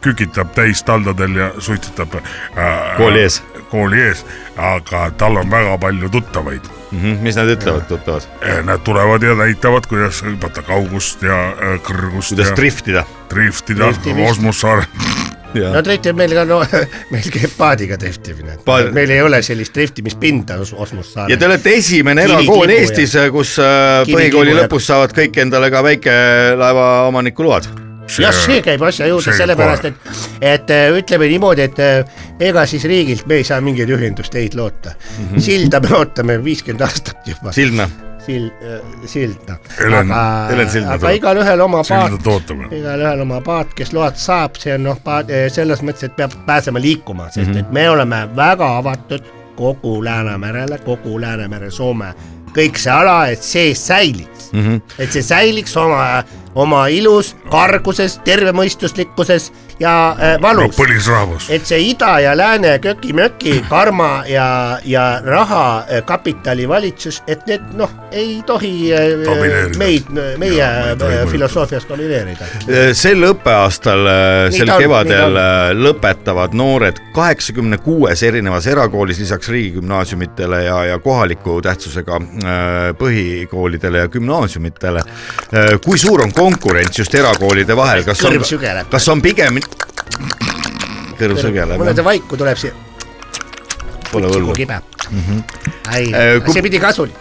S9: kükitab täis taldadel ja suitsetab äh, .
S4: Kooli ees. .
S9: kooli ees , aga tal on väga palju tuttavaid .
S4: Mhm, mis nad ütlevad , tuttavad ,
S9: Nad tulevad ja näitavad , kuidas hüpata kaugust ja äh, kõrgust
S4: kuidas
S9: ja
S4: driftida ?
S9: driftida
S6: Driftimist.
S9: Osmussaare .
S6: no drifti meil ka no meil käib paadiga driftimine
S4: Paad- ,
S6: meil ei ole sellist driftimispinda Os- Osmus
S4: ja te
S6: saarel .
S4: olete esimene
S6: Kivi
S4: erakool
S6: tibu ja-
S4: Eestis , kus äh,
S6: Kivi
S4: põhikooli
S6: tibu ja-
S4: lõpus saavad kõik endale ka väikelaeva omaniku load .
S6: jah , see käib asja juurde
S9: see
S6: sellepärast , et , et äh, ütleme niimoodi , et äh, ega siis riigilt me ei saa mingeid ühendusteid loota mm .
S4: Mhm.
S6: -hmm. silda me ootame viiskümmend aastat juba ,
S4: Sildna ,
S6: sild , silda .
S9: Helen-
S4: Helen Sildna
S6: äh, aga
S4: tuleb.
S6: igalühel oma
S9: silda
S6: paat ,
S9: tootame .
S6: igalühel oma paat , kes load saab , see on noh , selles mõttes , et peab pääsema liikuma , sest
S4: Mhm.
S6: mm -hmm. et me oleme väga avatud kogu Läänemerele , kogu Läänemere , Soome , kõik see ala , et see säiliks mm .
S4: Mhm.
S6: -hmm. et see säiliks oma , oma ilus , karguses , tervemõistuslikkuses ja äh,
S9: no
S6: valus no, .
S9: põlisrahvas .
S6: et see ida ja lääne köki-möki , karma ja , ja raha äh, kapitali valitsus , et need noh , ei tohi äh,
S9: Domineerida.
S6: meid , meie
S9: Jaa, ei tohi
S6: äh,
S9: mõjutada.
S6: filosoofias domineerida .
S4: Eh, sel õppeaastal ,
S6: Nii
S4: sel
S6: ta on, nii
S4: kevadel
S6: ta
S4: äh, lõpetavad noored kaheksakümne kuues erinevas erakoolis lisaks riigigümnaasiumitele ja , ja kohaliku tähtsusega äh, põhikoolidele ja gümnaasiumitele . kui suur on konkurents just erakoolide vahel , kas on
S6: Kõrv sügeleb. ,
S4: kas on pigem kõrv sügeleb
S6: mulle
S4: jah ,
S6: see vaiku tuleb siia ,
S4: pole
S6: kuhu
S4: hullu .
S6: kibe . ai
S4: Äh, , kui-
S6: see pidi kasulik ,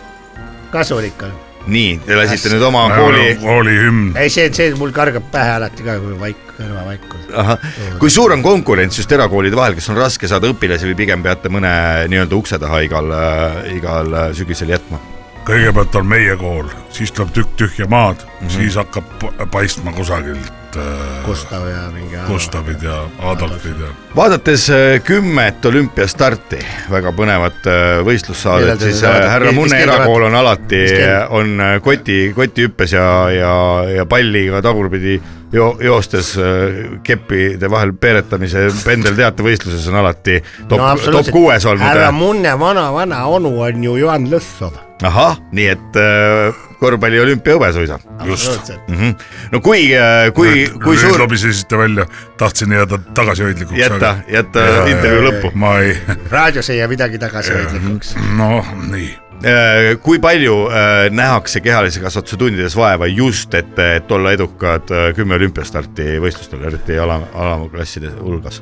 S6: kasulik on .
S4: nii , te lasite nüüd oma kooli ,
S9: koolihümn .
S6: ei , see , see mul kargab pähe alati ka , kui vaik , kõrvavaik on .
S4: kui suur on konkurents just erakoolide vahel , kas on raske saada õpilasi või pigem peate mõne nii-öelda ukse taha igal , igal äh, sügisel jätma ?
S9: kõigepealt on meie kool , siis tuleb tükk tühja maad mm ,
S4: Mhm.
S9: -hmm. siis hakkab pa- paistma kusagilt äh,
S6: Gustav ja mingi .
S9: Gustavid ja Adolfid ja .
S4: vaadates äh, kümmet olümpiastarti , väga põnevat äh,
S6: Millal
S4: võistlussaadet ,
S6: te
S4: siis
S6: seda
S4: äh,
S6: vaatate?
S4: härra
S6: Mis- mis
S4: Munne
S6: kell te
S4: erakool on alati
S6: Mis , kell?
S4: on äh, koti , kotihüppes ja , ja , ja palliga tagurpidi jo, joostes äh, keppide vahel peeretamise pendelteatevõistluses on alati top no, , top kuues
S6: härra
S4: olnud . äh.
S6: Munne vana-vana onu on ju Juhan Lõssov .
S4: ahah , nii et äh, korvpalli olümpiahõbe suisa
S9: just ,
S4: mm . -hmm. no kui , kui , kui
S9: nüüd
S4: suur ,
S9: lobisesite välja , tahtsin jääda tagasihoidlikuks .
S4: jäta , jäta intervjuu lõppu .
S9: ma ei ,
S6: raadios ei jää midagi tagasihoidlikuks .
S9: noh , nii .
S4: kui palju äh, nähakse kehalise kasvatuse tundides vaeva just , et , et olla edukad äh, kümme olümpiastarti võistlustel , eriti ala , alamaklasside hulgas ?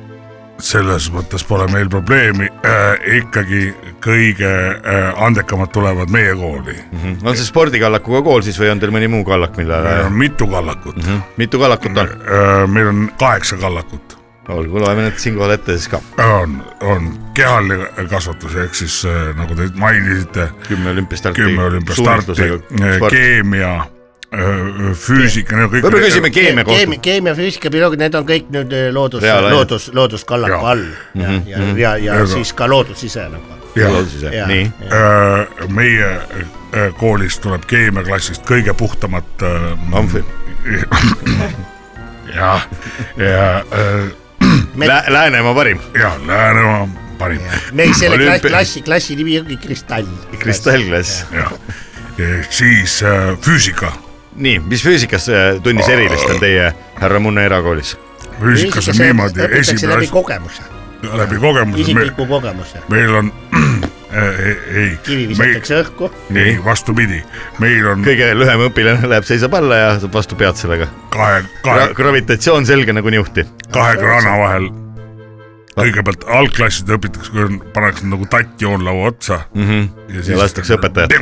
S9: selles mõttes pole meil probleemi äh, , ikkagi kõige äh, andekamad tulevad meie kooli mm .
S4: Mhm. on see spordikallakuga kool siis või on teil mõni muu kallak ,
S9: -hmm.
S4: millele ,
S9: mitu kallakut mm , -hmm.
S4: mitu kallakut on ?
S9: äh, meil on kaheksa kallakut Äh,
S4: olgu , loeme need siinkohal ette siis ka .
S9: on , on kehaline kasvatus ehk siis äh, nagu te mainisite ,
S4: kümme olümpiastarti .
S9: kümme olümpiastarti , eh, keemia , füüsika , need kõik .
S4: võib-olla küsime keemia kohta
S6: keemia ,. keemia , füüsika , bioloogia , need on kõik nüüd eh, loodus ,
S4: Reaalaine.
S6: loodus , looduskallaku
S9: Jaa. Mhm.
S6: all ja , ja , ja, ja, ja
S9: Aga-
S6: siis ka loodus ise nagu . Jaa.
S4: nii ,
S9: eh, meie äh, koolis tuleb keemiaklassist kõige puhtamat .
S4: Amfi. .
S9: jah , ja , eh,
S4: Lä- , Läänemaa parim ,
S9: ja Läänemaa parim ,
S6: meil selle klass,
S4: Olümpia-
S6: klassi , klassi nimi ongi Kristall .
S4: kristallklass .
S9: jah . siis äh, füüsika ,
S4: nii , mis füüsikas äh, tunnis erilist on teie härra Munne erakoolis ?
S9: füüsikas on niimoodi ,
S6: õpitakse
S9: esimene
S6: läbi
S9: asi
S6: kogemuse ,
S9: läbi kogemuse ,
S6: isikliku kogemuse .
S9: meil on äh, , ei ,
S6: kivi
S9: ei ,
S6: visatakse õhku ,
S9: ei vastupidi , meil on
S4: kõige lühem õpilane läheb , seisab alla ja saab vastu pead sellega .
S9: kahe , kahe ,
S4: gravitatsioon selge nagu niuhti .
S9: kahe kraana vahel . kõigepealt algklassid õpitakse , kui on , pannakse nagu tatt joonlaua otsa mm . -hmm.
S4: Mhm. Ja lastakse õpetajat. .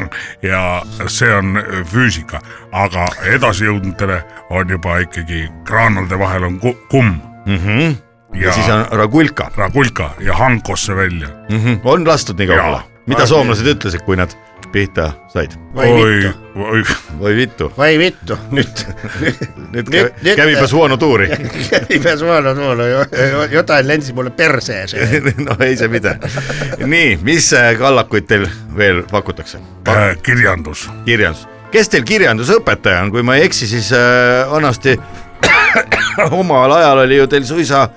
S9: ja see on äh, füüsika , aga edasijõudnutele on juba ikkagi kraanade vahel on ku- kumm mm . -hmm.
S4: Mhm. ja
S9: ja,
S4: siis
S9: ja on...
S4: on Ragulka mm .
S9: Ragulka ja Hankosse välja .
S4: -hmm. on lastud nii kaugele
S9: Jaa. .
S4: mida soomlased ütlesid , kui nad pihta said ?
S6: vai vittu ,
S9: oi ,
S4: oi vittu ,
S6: vai vittu , nüüd
S4: nüüd
S6: Nüüd-
S4: kävi-
S6: nüüd-
S4: kävipäs huono tuuri .
S6: ei pea suvalema tuule , jotain lensis mulle perse ees .
S4: no ei see mitte . nii , mis äh, kallakuid teil veel pakutakse ?
S9: äh, kirjandus ,
S4: kirjandus , kes teil kirjandusõpetaja on , kui ma ei eksi , siis äh, vanasti omal ajal oli ju teil suisa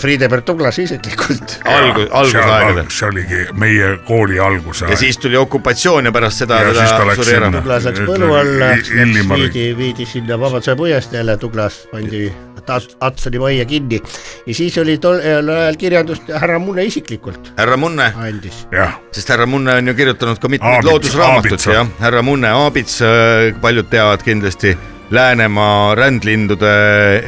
S6: Friedebert Tuglas Äh, isiklikult .
S4: algus , algusaegadel
S9: see oligi meie kooli alguse
S4: ja . siis tuli okupatsioon ja pärast seda
S9: Ja siis ta
S4: teda
S9: läks
S4: suri ära
S9: sinna.
S6: Tuglas läks
S9: Ütle-
S6: põllu alla
S9: I- , Illimari.
S6: viidi , viidi sinna Vabaduse puiesteele , Tuglas pandi Tats- Atsoni majja kinni ja siis oli tol tol ajal kirjandust härra Munne isiklikult
S4: härra Munne ,
S6: andis .
S9: jah ,
S4: sest härra Munne on ju kirjutanud ka mitmeid
S9: Aabits-
S4: loodusraamatuid ,
S9: Aabitsa.
S4: jah , härra Munne , Aabits , paljud teavad kindlasti Läänemaa rändlindude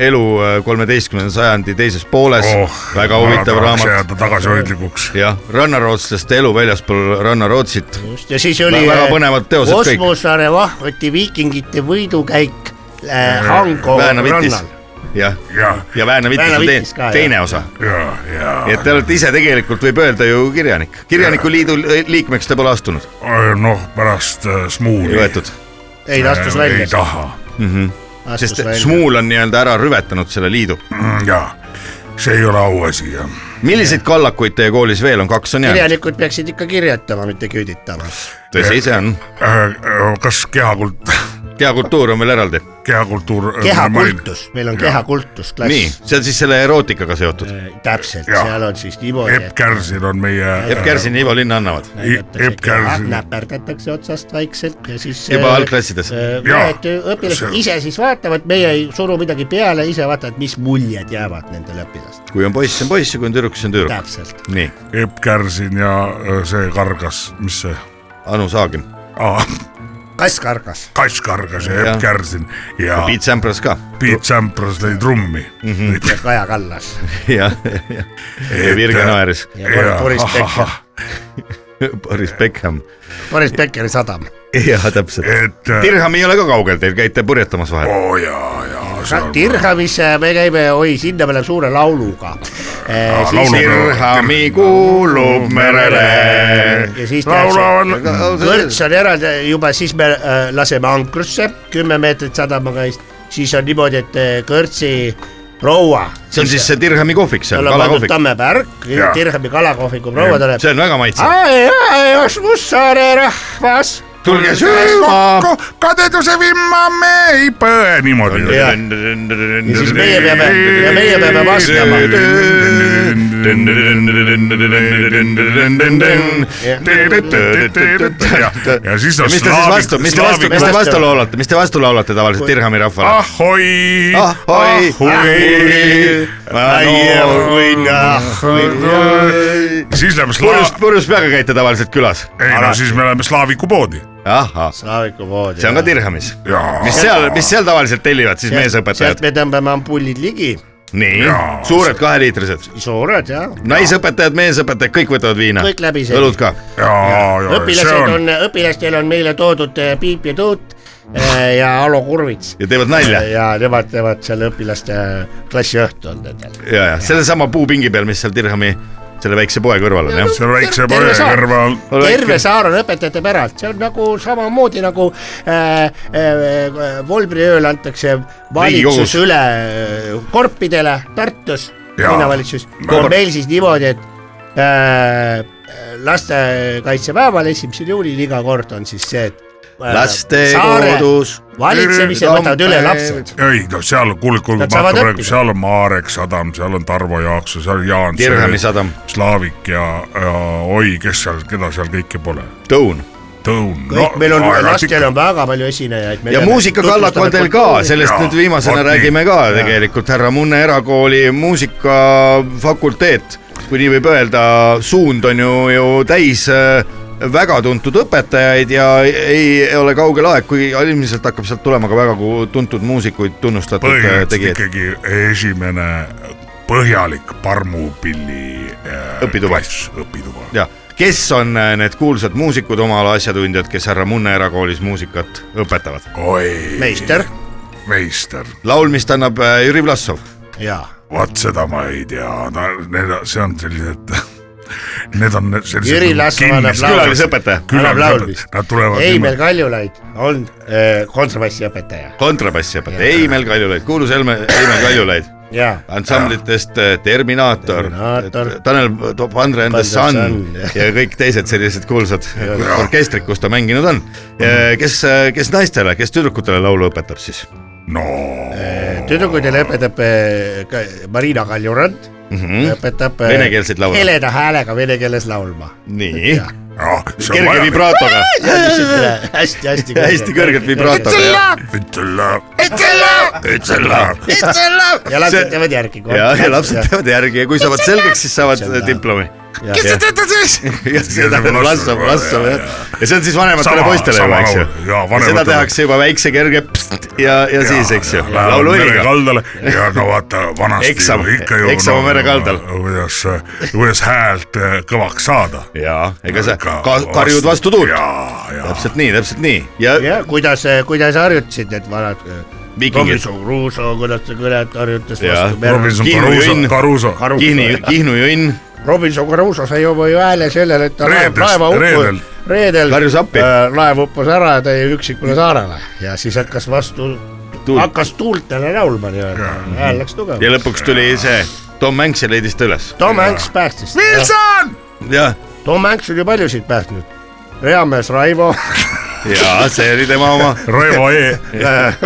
S4: elu äh, kolmeteistkümnenda sajandi teises pooles oh, , väga huvitav raamat ,
S9: jääda tagasihoidlikuks .
S4: jah , rannarootslaste elu väljaspool rannarootsit ,
S6: just , ja siis oli
S4: Väga põnevad teosed kõik.
S6: Osmosaare vahvati viikingite võidukäik äh, Hango
S9: Oh,
S4: Väänna vitis
S6: rannal .,
S4: jah ,
S9: jah ,
S4: ja Väänna vitis
S6: Väänna
S4: on
S6: Vitis ka,
S4: teine,
S6: jah.
S4: teine osa
S9: ja , ja .
S4: nii et te olete ise tegelikult , võib öelda ju kirjanik , kirjaniku liidu liikmeks te pole astunud ,
S9: noh , pärast äh, Smuuli .
S4: võetud ,
S6: ei , ta astus
S9: ei
S6: välja .
S9: taha
S4: sest Smuul on nii-öelda ära rüvetanud selle liidu
S9: Mm, ja see ei ole auasi jah .
S4: milliseid kallakuid teie koolis veel on , kaks on jäänud ?
S6: kirjanikud peaksid ikka kirjutama , mitte küüditama .
S4: Äh, tõsi , see on .
S9: Äh, kas kehakult ,
S4: kehakultuur on veel eraldi .
S9: kehakultuur ? äh,
S6: kehakultus , meil on kehakultus
S4: nii ,
S6: klass .
S4: see on siis selle erootikaga seotud .
S6: täpselt ,
S9: Jaa.
S6: seal on siis niimoodi ,
S9: Epp
S6: et
S9: Kärsil on meie .
S4: Epp Kärsin ja Ivo Linn annavad .
S9: Näidatakse Epp
S6: keha-
S9: Kärsil.
S6: näperdatakse otsast vaikselt ja siis . äh,
S4: Juba algklassides.
S9: Jaa.
S6: mõned õpilased
S9: See-
S6: äh, ise siis vaatavad , meie ei suru midagi peale , ise vaatavad , mis muljed jäävad nendele õpilastele .
S4: kui on poiss , siis on poiss ja kui on tüdruk , siis on tüdruk .
S6: täpselt ,
S4: nii ,
S9: äh, Epp Kärsin ja äh, see kargas , mis see
S4: Anu Saagim
S9: ah, ,
S6: kass kargas .
S9: kass kargas ja
S4: Jah.
S9: Epp Kärsin ja
S4: ja Mhm. Piet Sämpras ka .
S9: Piet Sämpras lõi trummi .
S6: ja Kaja Kallas .
S4: jah , ja Virge Naeris .
S6: ja Boris Becker .
S4: Boris Beckham .
S6: Boris Beckeri sadam .
S4: jaa , täpselt .
S9: et äh,
S4: Dirham ei ole ka kaugel , teil käite purjetamas vahel .
S9: oo oh, jaa , jaa , see on .
S6: Dirhamis äh, me käime , oi , sinna me läheme suure lauluga . Äh,
S4: Dirhami kuulub
S9: Äh.
S4: merele .
S6: ja siis tehakse ,
S9: laulavad ,
S6: kõrts on eraldi , juba siis me äh, laseme ankrusse kümme meetrit sadamaga , siis on niimoodi , et äh, kõrtsi proua ,
S4: see on siis see Dirhami kohvik seal ,
S6: talle on pandud
S4: kalakohvik .
S6: tammepärk ,
S9: Jaa.
S6: Dirhami kalakohviku proua tuleb .
S4: see on väga maitsev .
S6: ai , ai , Mussaare rahvas .
S4: tulge sööma .
S9: kokku , kadeduse vimma me ei põe , niimoodi .
S6: Jaa. Ja siis meie peame , ja meie peame vastama .
S9: ja siis on
S4: mis te siis vastu , mis te vastu , mis te
S9: slaavik-
S4: vastu laulate , mis te vastu laulate tavaliselt Dirhami rahvale ?
S9: ahoi ,
S4: ahoi , ahoi , ahoi .
S9: siis läheme
S4: purjus ,
S9: slaav- ,
S4: purjus peaga käite tavaliselt külas ?
S9: ei no siis me läheme slaaviku poodi .
S4: ahah ,
S6: saavikupood .
S4: see on ka Dirhamis .
S9: jaa ,
S4: mis seal , mis seal tavaliselt tellivad siis meesõpetajad
S6: sealt ? me tõmbame ampullid ligi ,
S4: nii
S9: Jaa. ,
S4: suured kaheliitrised ,
S6: suured ja .
S4: naisõpetajad , meesõpetajad , kõik võtavad viina .
S6: Kõik läbi see-
S4: õlut ka .
S9: jaa , jaa , see
S6: õpilased
S9: on
S6: on , õpilastel on meile toodud eh, piip ja tuut eh, ja Alo Kurvits .
S4: ja teevad nalja ja ,
S6: ja nemad teevad seal õpilaste klassiõhtu on nendel .
S4: ja sellesama puupingi peal , mis seal Dirhami , selle väikse poe kõrval on jah .
S9: seal väikse
S6: terve
S9: poe
S6: saal.
S9: kõrval .
S6: terve saar on õpetajate päralt , see on nagu samamoodi nagu äh, äh, volbriööl antakse valitsus
S4: Riigikogus.
S6: üle äh, korpidele Tartus ,
S9: Jaa.
S6: linnavalitsus ,
S4: Korp.
S6: on meil siis niimoodi , et äh, lastekaitsepäeval , esimesel juulil iga kord on siis see , et äh,
S4: laste
S6: saare
S4: kodus .
S6: valitsemise võtavad üle lapsed .
S9: ei no seal , kuule , kuule ,
S6: Nad saavad
S9: vaata praegu ,
S6: õppida.
S9: seal on Marek Sadam , seal on Tarvo Jaakso , seal on Jaan .
S4: Dirhami sadam ,
S9: Slaavik ja , ja oi , kes seal , keda seal kõike pole .
S4: Tõun
S9: Tõun .
S6: kõik meil on , lastel on väga palju esinejaid .
S4: ja muusikakallak on teil ka , sellest
S9: Jaa,
S4: nüüd viimasena
S9: vot nii.
S4: räägime ka tegelikult härra Munne erakooli muusikafakulteet , kui nii võib öelda , suund on ju , ju täis äh, väga tuntud õpetajaid ja ei ei ole kaugel aeg , kui ilmselt hakkab sealt tulema ka väga ku- tuntud muusikuid , tunnustatud äh,
S9: põhimõtteliselt
S4: tegijaid .
S9: ikkagi esimene põhjalik parmupilli äh,
S4: Õpituba.
S9: klass, õpituba .
S4: ja kes on äh, need kuulsad muusikud oma ala asjatundjad , kes härra Munne erakoolis muusikat õpetavad ?
S9: oi ,
S6: meister
S9: meister ,
S4: laulmist annab äh, Jüri Vlassov ,
S6: ja
S9: vot seda ma ei tea , need , see on sellised , need on need sellised .
S6: Jüri Lasnamäe annab laulu.
S4: külalisõpetaja ,
S6: annab laulmist .
S9: Nad tulevad
S6: Heimel Kaljulaid on äh, kontrabassiõpetaja
S4: kontrabassiõpetaja Heimel Kaljulaid , kuulus Helme , Heimel Kaljulaid
S6: ja
S4: ansamblitest äh, Terminaator, Terminaator. ,
S6: Terminaator.
S4: Tanel Top Andre and the
S6: Sun.
S4: Sun ja kõik teised sellised kuulsad orkestrid , kus ta mänginud on . kes , kes naistele , kes tüdrukutele laulu õpetab siis ?
S9: no
S6: äh, tüdrukuid õpetab äh, ka- Marina Kaljurand mm ,
S4: Mhm.
S6: -hmm. õpetab äh,
S4: Venekeelseid laule.
S6: heleda häälega vene keeles laulma .
S4: nii ,
S9: ah, , see on
S4: kerge
S9: vaja ,
S4: vibraatoga ,
S6: hästi-hästi
S4: hästi kõrgelt . vibraatoga ja ,
S9: ütle , ütle ,
S4: See-
S6: ja lapsed teevad järgi .
S4: ja , ja lapsed teevad järgi ja kui saavad selgeks , siis saavad diplomi .
S6: Kes
S4: te teete siis ? seda peab lassama , lassama jah . ja see on siis vanematele poistele juba , eks ju .
S9: jaa ,
S4: seda
S9: vanematele .
S4: tehakse juba väikse kerge pst ja , ja siis , eks ju , laulu õliga .
S9: kaldale ja no vaata vanasti
S4: Eksam-
S9: ju ikka ju
S4: eksam on mere kaldal.
S9: kuidas , kuidas häält eh, kõvaks saada .
S4: jaa , ega sa ka karjud vastu tuult . täpselt nii , täpselt nii ja, ja.
S6: ja kuidas , kuidas harjutasid need vanad äh,
S4: viikingid ,
S6: Robinson Crusoe , kuidas ta kõnet harjutas
S4: Jaa.
S6: vastu merre .
S9: Robinson
S4: Kihnu
S9: Caruso
S4: jõnn. ,
S9: Caruso .
S4: Kihnu , Kihnu jõnn ,
S6: Robinson Crusoe sai oma ju hääle sellele , et ta laev ,
S9: Reedest-
S6: laeva
S9: reedel.
S6: uppus , reedel
S4: Karjus appi.
S6: äh, laev uppus ära ja tõi üksikule saarele ja siis hakkas vastu ,
S4: Tuult.
S6: hakkas tuultele laulma nii-öelda , hääl läks
S4: ja
S6: tugevaks .
S4: lõpuks tuli see Tom Hanks ja leidis ta üles .
S6: Tom Hanks päästis .
S9: Wilson ,
S4: jah ,
S6: Tom Hanks on ju paljusid päästnud . reamees Raivo ,
S4: ja see oli tema oma ,
S9: Raivo E ,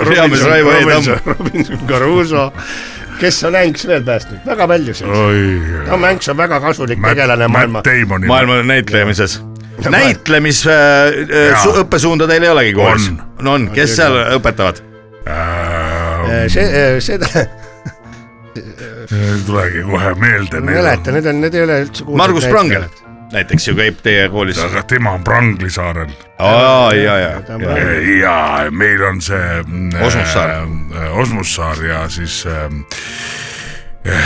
S4: reamees Raivo E Tamm .
S6: Robinson Caruso , kes on Hanks veel päästnud , väga paljusid .
S4: Oh.
S9: oi ,
S6: Tom Hanks on väga kasulik tegelane maailma
S9: Matt , Damoni .
S4: maailma näitlemises . äh, näitlemisõppesuunda teil ei olegi koolis
S9: On. ?
S4: no on , kes seal õpetavad ?
S9: Äh,
S6: Eh,
S4: Äh,
S6: see , seda
S9: ei tulegi kohe meelde .
S6: ma ei mäleta , need on , need ei ole üldse kuulsad
S4: Margus Prangel näiteks ju käib teie koolis .
S9: aga tema on Prangli saarel
S4: aa , ja , ja ,
S6: näitlejad.
S9: Äh, ja meil on see mm,
S4: Osmussaar.
S9: ähm, äh, Osmussaar ja siis äh,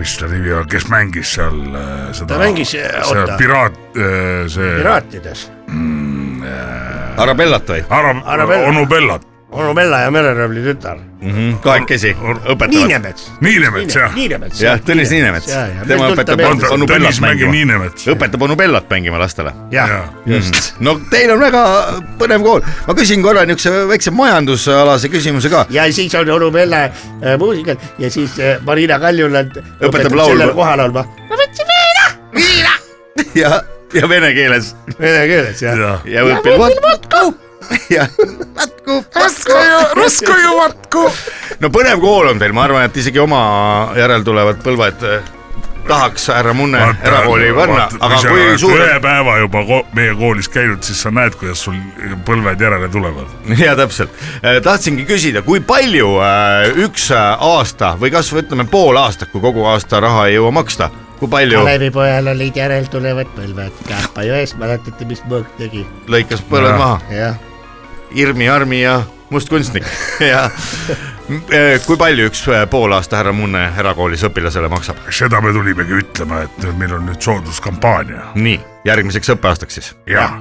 S9: mis ta nimi on , kes mängis seal äh, seda .
S10: Ta mängis, äh,
S9: see
S10: oota.
S9: piraat , see .
S10: piraatides .
S4: Arabellat või
S9: Ara- ,
S10: Arabella.
S9: onu Bellat ,
S10: onu Mella ja mereröövli tütar .
S4: mm -hmm. ? kahekesi õpetavad .
S10: Niinemets .
S9: Niinemets jah .
S10: Niinemets .
S4: jah , Tõnis Niinemets , tema õpetab
S9: On ta-
S4: onu Bellat
S9: Tõnis mängib
S4: mängima ,
S9: Niinemets .
S4: õpetab onu Bellat mängima lastele .
S10: jah ,
S4: just . no teil on väga põnev kool , ma küsin korra niisuguse väikse majandusalase küsimuse ka .
S10: ja siis on onu Mella äh, muusikat ja siis äh, Marina Kaljuland
S4: laulma.
S10: sellel kohal olma
S4: ja , ja vene keeles
S10: vene keeles ja .
S4: ja võpil vatku ja vatku , vatku ja rusku ja vatku . no põnev kool on teil , ma arvan , et isegi oma järeltulevad põlved eh, tahaks härra Munne erakooli panna , aga kui suur
S9: ühe päeva juba ko meie koolis käinud , siis sa näed , kuidas sul põlved järele tulevad .
S4: ja täpselt , tahtsingi küsida , kui palju eh, üks aasta või kasvõi ütleme pool aastat , kui kogu aasta raha ei jõua maksta , kui palju
S6: Kalevipojal olid järeltulevad põlved , Käpajões , mäletate , mis Mõõk tegi ?
S4: lõikas põlved maha ?
S6: jah ,
S4: Irmi Armi ja mustkunstnik ja kui palju üks eh, pool aasta härra Munne erakoolis õpilasele maksab ?
S9: seda me tulimegi ütlema , et nüüd meil on nüüd sooduskampaania
S4: nii , järgmiseks õppeaastaks siis .
S9: ja
S6: jah.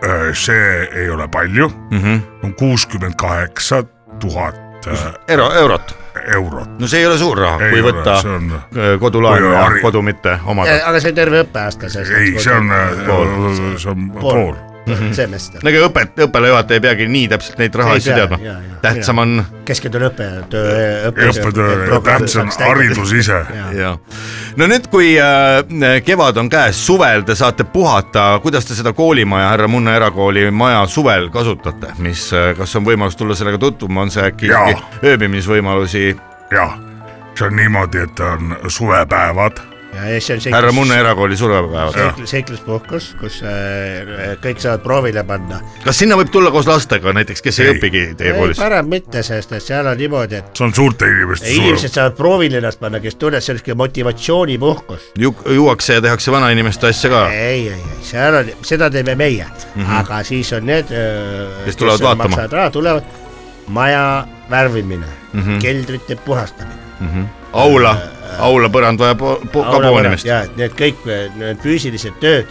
S9: Äh, see ei ole palju mm , -hmm.
S4: Mhm.
S9: on kuuskümmend kaheksa tuhat äh,
S4: euro , eurot ,
S9: eurot .
S4: no see ei ole suur raha ,
S9: Ei
S4: kui
S9: ole,
S4: võtta
S9: see on-
S4: eh, kodulaenu
S9: Kui
S4: ja
S9: hari-
S4: kodu mitte omada .
S6: aga see on terve õppeaasta .
S9: ei , see on äh,
S4: Pool. ,
S9: see on pool . Mhm.
S6: semester ,
S4: no ega õpet , õppealajuhataja ei peagi nii täpselt neid rahaasju
S6: Ei pea,
S4: teadma
S6: jaa, jaa. .
S4: tähtsam on
S6: keskendun õppetöö ,
S9: õppetöö ja tähtsam on . haridus ise .
S4: ja no nüüd , kui äh, kevad on käes , suvel te saate puhata , kuidas te seda koolimaja , härra Munne erakooli maja suvel kasutate , mis , kas on võimalus tulla sellega tutvuma , on see äkki
S9: Jaa.
S4: ikkagi ööbimisvõimalusi
S9: jah , see on niimoodi , et on suvepäevad ,
S6: ja see on
S4: härra Munne erakooli suvepäeval ?
S6: seiklus , seikluspuhkus , kus äh, kõik saavad proovile panna .
S4: kas sinna võib tulla koos lastega näiteks , kes ei,
S9: Ei.
S4: ei õpigi teie
S6: ei ,
S4: koolis ?
S6: parem mitte , sest et seal on niimoodi , et
S9: see on suurte inimeste suve
S6: inimesed . saavad proovile ennast panna , kes tunneb , see on siuke motivatsioonipuhkus .
S4: Ju- , juuakse ja tehakse vanainimeste asja ka ,
S6: ei , ei , ei , seal on , seda teeme meie mm , -hmm. aga siis on need ,
S4: Mhm. Kes tulevad vaatama.
S6: maksavad raha , tulevad maja värvimine mm ,
S4: Mhm.
S6: -hmm. keldrite puhastamine .
S4: aula , aula põrand vajab po- po- ka poonimist ,
S6: ja et need kõik eh, need füüsilised tööd ,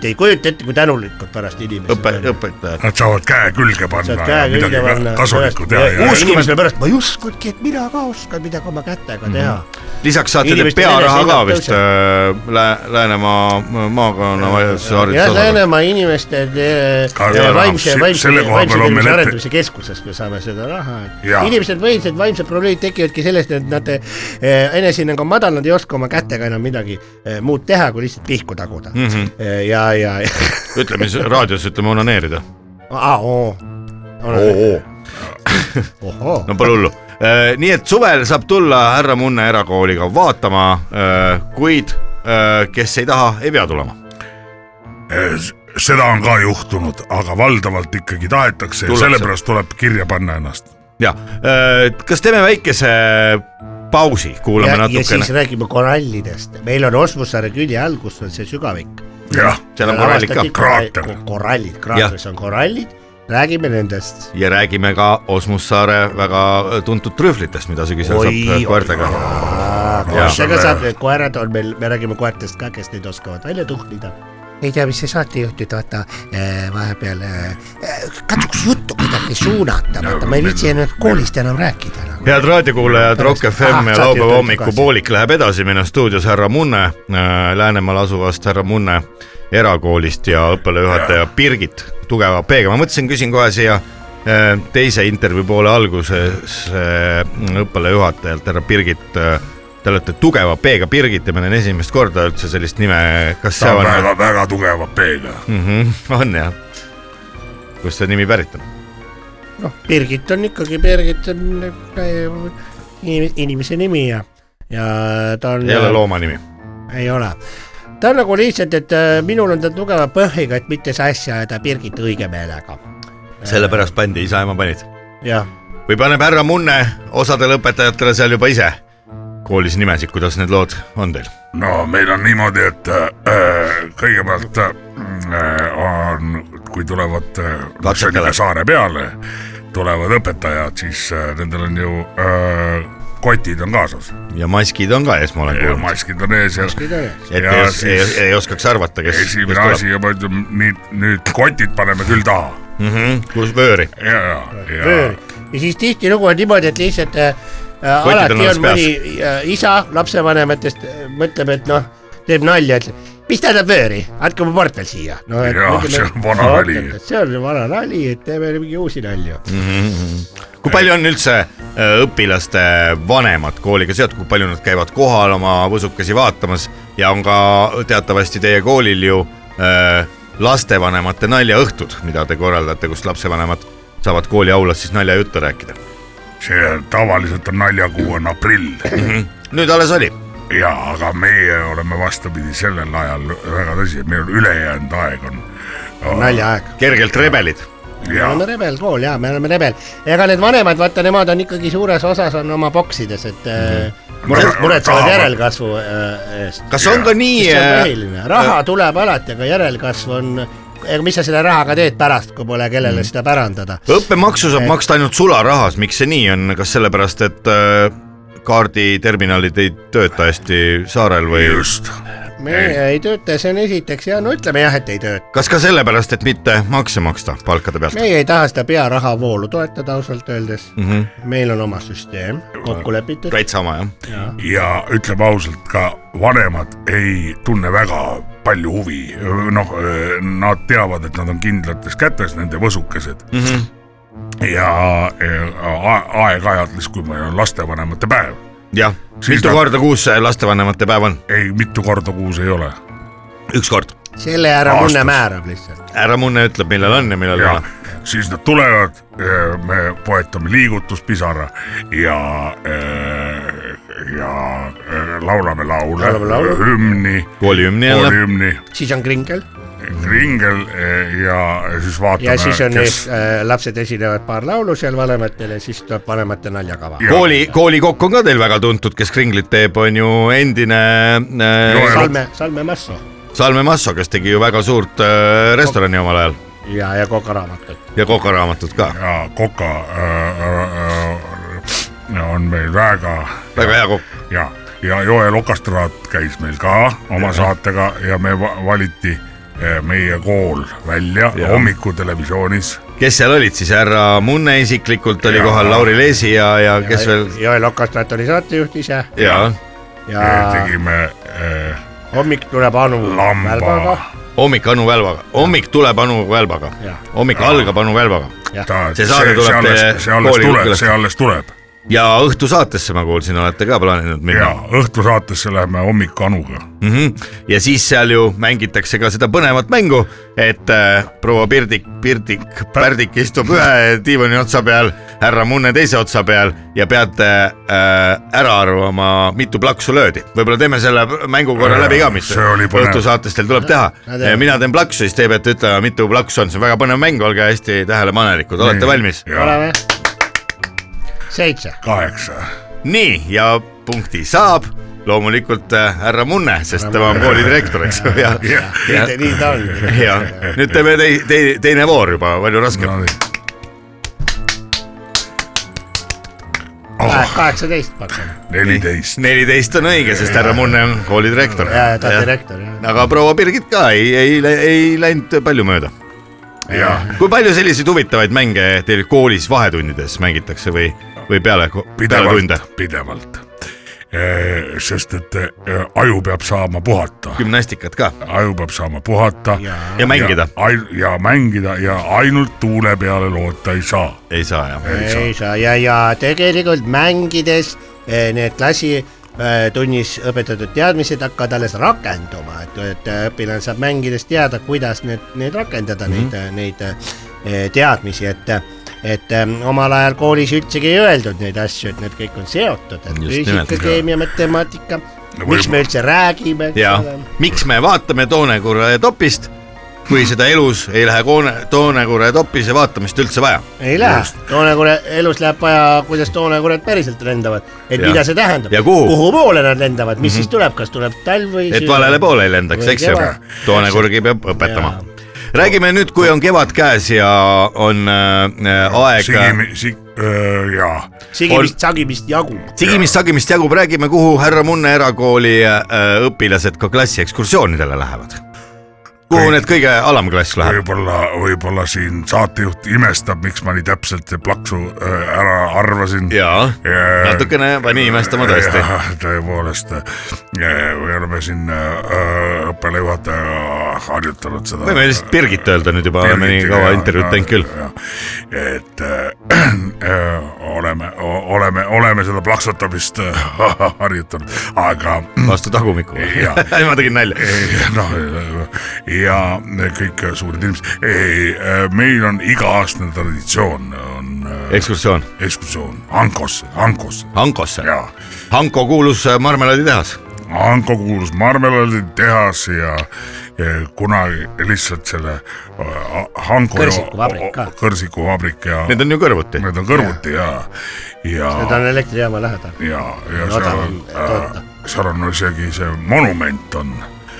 S6: te ei kujuta ette , kui tänulikud pärast inimesed
S4: õpe , õpetajad .
S9: Nad saavad käe külge
S6: saad
S9: panna
S6: käe
S9: ja midagi
S6: külge panna
S9: ka- . kasulikku teha ja
S4: Uus-
S6: inimesele pärast , ma ei uskunudki , et mina ka oskan midagi oma
S4: Mhm.
S6: kätega teha mm .
S4: lisaks saate te
S6: Inimeste
S4: pearaha ka
S6: enesehinnang
S4: vist äh, Lä- , Läänemaa äh, maakonna valitsuse
S6: -hmm. ja
S4: haridusosakonna .
S6: Läänemaa inimeste eh,
S9: Ka-
S6: eh,
S9: jaa,
S6: vaimse ,
S9: se-
S6: vaimse ,
S9: selle koha peal
S6: vaimse
S9: on meil
S6: tervise
S9: ette-
S6: arendamise keskuses me saame seda raha ,
S9: Jaa.
S6: et inimesed põhiliselt vaimsed probleemid tekivadki sellest , et nad eh, enesehinnang on madal , nad ei oska oma kätega enam midagi eh, muud teha , kui lihtsalt pihku taguda mm .
S4: Mhm.
S6: -hmm. ja , ja , ja
S4: ütleme siis raadios ütleme onaneerida .
S6: ah, , oo , ohoo ,
S4: no pole hullu . nii et suvel saab tulla härra Munne erakooliga vaatama , kuid äh, kes ei taha , ei pea tulema .
S9: Äh, seda on ka juhtunud , aga valdavalt ikkagi tahetakse ja
S4: Tullakse.
S9: sellepärast tuleb kirja panna ennast .
S4: ja äh, kas teeme väikese pausi , kuulame
S6: ja, ja siis
S4: natukene ,
S6: räägime korallidest , meil on Osmussaare külje all , kus on see sügavik
S9: jah ,
S4: seal on korralik ka
S9: kraater.
S6: korallid , kraatris on korallid , räägime nendest .
S4: ja räägime ka Osmussaare väga äh, tuntud trühvlitest , mida sügisel
S6: Oi,
S4: saab äh, koertega .
S6: koertega saab , koerad on meil , me räägime koertest ka , kes neid oskavad välja tuhnida . ei tea , mis see saatejuht nüüd vaata eh, vahepeal eh, katsuks juttu kuidagi suunata , vaata ma ei viitsi enam koolist enam rääkida enam .
S4: head raadiokuulajad , Rock FM
S6: Ah,
S4: ja
S6: saate
S4: laupäeva
S6: juurde
S4: hommikupoolik läheb edasi , meil on stuudios härra Munne äh, Läänemaal asuvast härra Munne erakoolist ja õppealajuhataja Birgit Tugeva P-ga , ma mõtlesin , küsin kohe siia äh, teise intervjuu poole alguses äh, õppealajuhatajalt härra Birgit äh, Te olete tugeva P-ga Birgit ja ma näen esimest korda üldse sellist nime , kas see
S9: ta on
S4: on ,
S9: väga-väga tugeva peega .
S4: Mhm. on jah ? kust see nimi pärit on ?
S6: noh , Birgit on ikkagi , Birgit on eh, inim- inimese nimi ja , ja ta on .
S4: ei ole looma nimi .
S6: ei ole . ta on nagu lihtsalt , et äh, minul on ta tugeva põhiga , et mitte sassi ajada Birgit õige meelega .
S4: sellepärast pandi , isa ja ema panid
S6: jah ,
S4: või paneb härra Munne osadele õpetajatele seal juba ise koolis nimesid , kuidas need lood on teil ?
S9: no meil on niimoodi , et äh, kõigepealt äh, on , kui tulevad äh,
S4: Lapsed
S9: lapsed üle saare peale , tulevad õpetajad , siis äh, nendel on ju äh, kotid on kaasas
S4: ja maskid on ka ees , ma olen
S9: ja
S4: kuulnud .
S9: maskid on ees ja
S4: et
S9: ja
S4: ei, ei,
S9: siis-
S4: ei oskaks arvata , kes , kes
S9: esimene
S4: tuleb ,
S9: asi juba ütleme , nüüd , nüüd kotid paneme küll taha .
S4: Mhm. kus vööri .
S9: ja , ja , ja
S6: pöör . ja siis tihtilugu on niimoodi , et lihtsalt äh, äh,
S4: Kotid on
S6: alati
S4: alles
S6: on mõni äh, isa lapsevanematest äh, mõtleb , et noh , teeb nalja , ütleb , mis tähendab vööri , andke mu portfell siia no, .
S9: Jaa, see on vana nali.
S6: see on vana nali , et teeme mingi uusi nalju .
S4: kui palju on üldse äh, õpilaste vanemad kooliga seotud , kui palju nad käivad kohal oma võsukesi vaatamas ja on ka teatavasti teie koolil ju äh, lastevanemate naljaõhtud , mida te korraldate , kus lapsevanemad saavad kooli aulas siis naljajutte rääkida .
S9: see on- tavaliselt on naljakuu on aprill
S4: Mhm. nüüd alles oli ,
S9: ja , aga meie oleme vastupidi sellel ajal väga tõsised , meil on ülejäänud aeg on .
S6: naljaaeg .
S4: kergelt rebelid .
S6: me
S9: ja ,
S6: oleme rebelkool ja me oleme rebel , ega need vanemad , vaata , nemad on ikkagi suures osas on oma boksides , et äh,
S9: Mhm.
S6: muret , muretsevad
S9: Tahavad.
S6: järelkasvu äh, eest .
S4: kas on ka nii
S6: mis on
S4: äh,
S6: põhiline , raha tuleb alati , aga järelkasv on , ega mis sa selle rahaga teed pärast , kui pole kellele
S4: Mm.
S6: seda pärandada .
S4: õppemaksu saab
S6: Et-
S4: äh, maksta ainult sularahas , miks see nii on , kas sellepärast , et äh, kaarditerminalid ei tööta hästi saarel või ?
S9: just ,
S6: me ei, ei tööta , see on esiteks ja no ütleme jah , et ei tööta ,
S4: kas ka sellepärast , et mitte makse maksta palkade pealt ?
S6: meie ei taha seda pearahavoolu toetada ausalt öeldes mm ,
S4: Mhm.
S6: -hmm. meil on oma süsteem kokku lepitud .
S4: täitsa oma jah .
S9: ja ütleme ausalt , ka vanemad ei tunne väga palju huvi , noh , nad teavad , et nad on kindlates kätes , nende võsukesed mm .
S6: Mhm.
S9: -hmm. ja, ja a- aeg-ajalt , kui meil on lastevanemate päev ,
S4: jah ,
S9: Siis
S4: mitu
S9: ta-
S4: korda kuus see lastevanemate päev on ?
S9: ei mitu korda kuus ei ole .
S4: üks kord .
S6: selle ära
S9: Aastas.
S6: munne määrab lihtsalt .
S4: härra Munne ütleb , millal on ja millal ei
S9: ja
S4: ole .
S9: siis nad tulevad , me poetame liigutuspisara ja , ja eh, laulame
S6: Laulame laule.
S9: laule , hümni ,
S4: koolihümni jälle .
S9: koolihümni ,
S6: siis on kringel
S9: ringel eh, ja siis
S6: ja
S9: vaatame ,
S6: siis on
S9: kes
S6: kes... , äh, lapsed esinevad paar laulu seal vanematele , siis tuleb vanemate naljakava .
S9: Ja.
S4: kooli , koolikokk on ka teil väga tuntud , kes kringlit teeb , on ju endine
S9: Joel.
S4: äh,
S6: Salme , Salme Masso
S4: Salme Masso , kes tegi ju väga suurt äh, restorani omal ajal
S6: ja , ja Koka raamatut .
S4: ja kokaraamatut ka .
S9: ja Koka eh, eh, eh, on meil väga
S4: väga hea kokk .
S9: ja , ja Joel Okastraat käis meil ka oma saatega ja me va- valiti eh, meie kool välja
S4: Jaa.
S9: hommikutelevisioonis
S4: kes seal olid siis , härra Munne isiklikult oli
S9: Ja.
S4: kohal , Lauri Leesi ja , ja kes veel ?
S6: Joel Okastraat oli saatejuht ise
S4: ja
S6: ja
S9: Eh, tegime eh,
S6: hommik tuleb Anu
S9: Lamba.
S6: Välbaga
S4: hommik Anu Välbaga , hommik tuleb Anu Välbaga
S6: Jah. ,
S4: hommik algab Anu Välbaga
S9: ta ,
S4: See saade tuleb teie
S9: alles , see alles
S4: kooli
S9: tuleb ,
S4: õpilastele.
S9: see alles tuleb
S4: ja õhtusaatesse ma kuulsin , olete ka plaaninud
S9: ja
S4: minna .
S9: õhtusaatesse läheme hommik Anuga .
S4: mm . -hmm. ja siis seal ju mängitakse ka seda põnevat mängu , et äh, proua Pirdik , Pirdik , Pärdik istub ühe diivani otsa peal , härra Munne teise otsa peal ja peate äh, ära arvama , mitu plaksu löödi . võib-olla teeme selle mängu korra läbi ka , mis
S9: See oli põnev.
S4: õhtusaates teil tuleb teha . mina teen plaksu , siis te peate ütlema , mitu plaksu on , see on väga põnev mäng , olge hästi tähelepanelikud , olete valmis ?
S6: oleme . seitse ,
S9: kaheksa ,
S4: nii , ja punkti saab loomulikult äh, härra Munne , sest tema on kooli direktor , eks ju , ja, ja. .
S6: nii , nii ta on .
S4: ja nüüd teeme tei- , tei- , teine voor juba palju raskem
S9: no
S4: no. .
S9: nii ,
S6: kaheksateist pakume
S9: neliteist ,
S4: neliteist on õige , sest härra Munne on kooli direktor .
S6: ja , ja ta on direktor ja .
S4: aga proua Birgit ka ei , ei , ei läinud palju mööda .
S9: jah ,
S4: kui palju selliseid huvitavaid mänge teil koolis vahetundides mängitakse või , või peale , peale tunde ?
S9: pidevalt , pidevalt . sest et eh, aju peab saama puhata ,
S4: gümnastikat ka
S9: aju peab saama puhata .
S4: ja mängida ?
S9: ja mängida ja ainult tuule peale loota ei saa .
S4: ei saa jah ?
S6: ei saa ja , ja tegelikult mängides eh, need klassi eh, tunnis õpetatud teadmised hakkavad alles rakenduma , et , et eh, õpilane saab mängides teada , kuidas need , need rakendada mm , -hmm. neid , neid eh, teadmisi , et et eh, omal ajal koolis üldsegi ei öeldud neid asju , et need kõik on seotud , et
S4: Just nimelt,
S6: füüsika ,
S4: jah.
S6: keemia , matemaatika ,
S9: No
S6: miks
S9: võib-
S6: me üldse räägime ,
S4: ja miks me vaatame Toonekura ja Topist , kui seda elus ei lähe koone- Toonekura ja Topise vaatamist üldse vaja ?
S6: ei lähe , toonekure elus läheb vaja , kuidas toonekured päriselt lendavad , et
S4: Ja.
S6: ja. mida see tähendab
S4: Ja , kuhu? Mhm.
S6: kuhu poole nad lendavad , mis mm -hmm. siis tuleb , kas tuleb talv või
S4: et valele poole ei lendaks , eks ju . toonekurgi peab õpetama . räägime nüüd , kui on kevad käes ja on äh, aeg
S9: sigimi , sig- , äh, jaa ,
S6: sigimist , sagimist jagub .
S4: sigimist-sagimist jagub , räägime , kuhu härra Munne erakooli äh, õpilased ka klassiekskursioonidele lähevad . kuhu
S9: Kõik.
S4: need kõige alamklass läheb ?
S9: võib-olla , võib-olla siin saatejuht imestab , miks ma nii täpselt see plaksu äh, ära arvasin . Äh,
S4: jaa , natukene pani imestama tõesti .
S9: tõepoolest , me oleme siin äh, õppealajuhatajaga harjutanud seda .
S4: võime lihtsalt Birgit öelda nüüd juba , oleme nii kaua intervjuud teinud küll ..
S9: et äh, äh, oleme , oleme , oleme seda plaksutamist äh, harjutanud , aga
S4: vastu tagumikku .
S9: Jaa.
S4: ma tegin nalja .
S9: Ei, noh ja kõik suured inimesed , ei , meil on iga-aastane traditsioon , on eh,
S4: ekskursioon
S9: ekskursioon Ankosse , Ankosse
S4: Hankosse .
S9: ja
S4: Hanko kuulus äh, marmelaaditehas .
S9: Anko kuulus marmelaaditehas ja, ja kunagi lihtsalt selle eh, Hanko
S6: Kõrsikuvabrik ka.
S9: kõrsikuvabrik ja
S4: Need on ju kõrvuti .
S9: need on kõrvuti ja , ja ,
S6: ta on elektrijaama lähedal .
S9: ja , ja seal
S6: odavam
S9: on äh,
S6: toota. ,
S9: seal on isegi see monument on .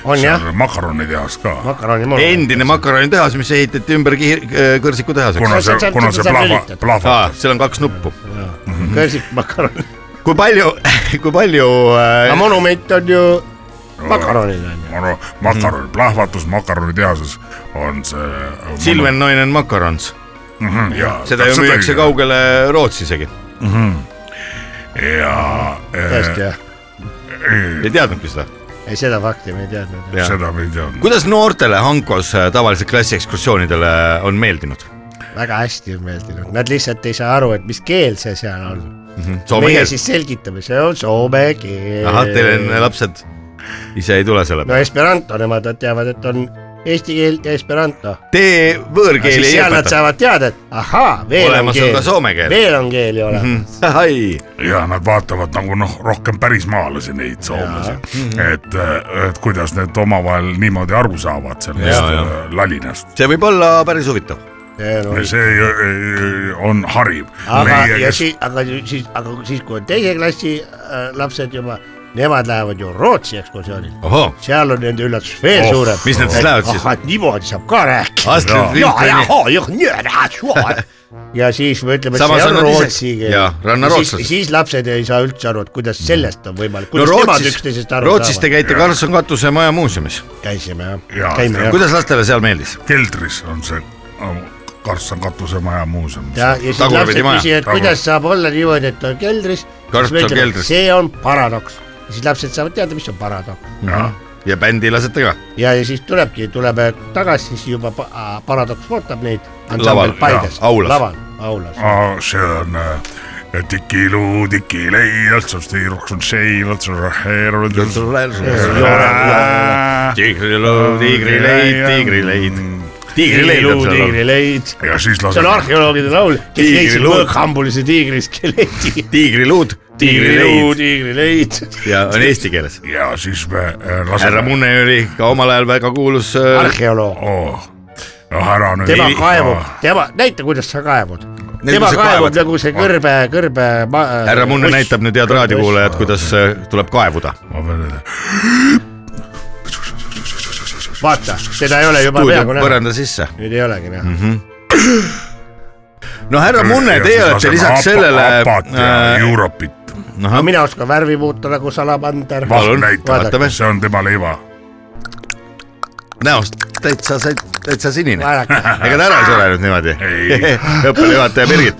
S6: On jah?
S9: makaronitehas ka
S6: makaroni mul .
S4: endine makaronitehas , mis ehitati ümber kihi- äh, kõrsikutehaseks .
S6: Seal-
S9: kuna
S6: seal-
S9: see ,
S6: seal-
S9: kuna
S6: seal-
S9: see
S6: seal
S9: plahva ,
S6: lülitad.
S9: plahvatab
S4: aa , seal on kaks nuppu .
S6: körsik makaron .
S4: kui palju , kui palju
S6: aga
S4: äh,
S6: monument on ju makaronil on ju .
S9: manu- makaron , plahvatus makaronitehases on see . äh, Mhm,
S4: Silven Noinen makarons ,
S9: ja
S4: seda ju müüakse . kaugele Rootsi isegi .
S9: ja äh,
S6: tõesti jah ,
S4: ei teadnudki seda .
S6: ei seda fakti ma ei teadnud .
S9: eh, seda me ei teadnud .
S4: kuidas noortele Hankos äh, tavaliselt klassiekskursioonidele on meeldinud ?
S6: väga hästi on meeldinud , nad lihtsalt ei saa aru , et mis keel see seal on .
S4: Hm, soome
S6: meie
S4: keel
S6: siis selgitame , see on soome keel .
S4: ahah , teil on lapsed , ise ei tule selle
S6: no
S4: peale .
S6: esperanto , nemad teavad , et on eesti keel ja esperanto .
S4: Te võõrkeeli
S6: siis
S4: ei
S6: seal nad
S4: õpeta .
S6: saavad teada , et ahaa , veel on
S4: olemas on
S6: keel
S4: ka , soome keel . Mhm.
S6: veel on keeli olemas .
S4: ahai ,
S9: ja nad vaatavad nagu noh , rohkem pärismaalasi neid soomlasi ,
S6: Mhm.
S9: et , et kuidas need omavahel niimoodi aru saavad sellest
S4: Jaa, jaa.
S9: eh, lalinast .
S4: see võib olla päris huvitav .
S9: see ei- ei- on hariv .
S6: aga , ja siis , aga siis , aga siis , kui on teise klassi äh, lapsed juba , nemad lähevad ju Rootsi ekskursioonile .
S4: ohoo ,
S6: seal on nende üllatus veel oh, suurem .
S4: mis nad siis lähevad siis?
S6: ahah , et niimoodi saab ka rääkida .
S4: Astrid Lindgreni ,
S6: ja siis me ütleme , et
S4: Samas
S6: see
S4: on
S6: on
S4: nad ise-
S6: rootsi
S4: jaa,
S6: keel .
S4: rannarootslased.
S6: siis, siis lapsed ei saa üldse aru , et kuidas sellest on võimalik ,
S4: no
S6: kuidas no, nemad
S4: Rootsis
S6: üksteisest , aru
S4: Rootsis te käite Karlsson katuse maja muuseumis .
S6: saavad . käisime
S9: Jaa,
S6: jah , käime jah .
S4: kuidas lastele seal meeldis ?
S9: keldris on see eh, Karlsson katusemaja muuseum .
S6: ja , ja siis
S4: Tagurpidi
S6: lapsed
S4: maja.
S6: küsivad , kuidas saab olla niimoodi , et on keldris .
S4: Karp on keldris.
S6: see on paradoks . siis lapsed saavad teada , mis on paradoks . Mhm.
S4: ja bändi lasete ka ?
S6: ja , ja siis tulebki , tuleme tagasi , siis juba pa- a- paradoks ootab neid .
S4: Laval,
S6: Paides ,
S4: jaa, aulas.
S6: laval , aulas .
S9: Aa, se Ah, on äh, tikilu , tikilei , otsast tiiruksun seil , otsast raheeru .
S4: tiigrilõu , tiigrileid , tiigrileid . tiigrileid on seal laul .
S6: tiigrileid .
S9: ja siis
S6: see on
S9: lased ,
S6: arheoloogide laul , kes
S4: Tiigri
S6: leidsid
S4: luud.
S6: võõrhambulise tiigri skeleti .
S4: tiigriluud , tiigrileid
S6: tiigrileid .
S4: ja on eesti keeles .
S9: ja siis me äh,
S4: härra
S9: laseme .
S4: Munne oli ka omal ajal väga kuulus äh,
S6: arheoloog ,
S9: Oh. noh , ära nüüd . Ah,
S6: tema kaevub , tema , näita , kuidas sa kaevud .
S4: Näita,
S6: tema
S4: kuidas sa
S6: kaevub
S4: kaevad.
S6: nagu see kõrbe , kõrbe . äh,
S4: härra Munne näitab nüüd head raadiokuulajad , kuidas äh, tuleb kaevuda .
S9: ma pean öelda ,
S6: vaata , seda ei ole juba
S4: tuud
S6: peaaegu näha ,
S4: põranda sisse .
S6: nüüd ei olegi näha
S4: Mhm.
S6: mm .
S4: no
S9: Äh,
S4: härra Munne , teie olete lisaks sellele
S9: apat ja
S4: äh,
S9: Europit ,
S4: ahah,
S6: -hmm. mina oskan värvi muuta nagu salamander .
S4: palun ,
S9: näita
S4: vaatame ,
S9: see on tema leiva .
S4: näost täitsa , täitsa sinine
S6: vaadake ,
S4: ega ta ära ei surenud niimoodi
S9: Ei. ?
S4: õppejuhataja Birgit .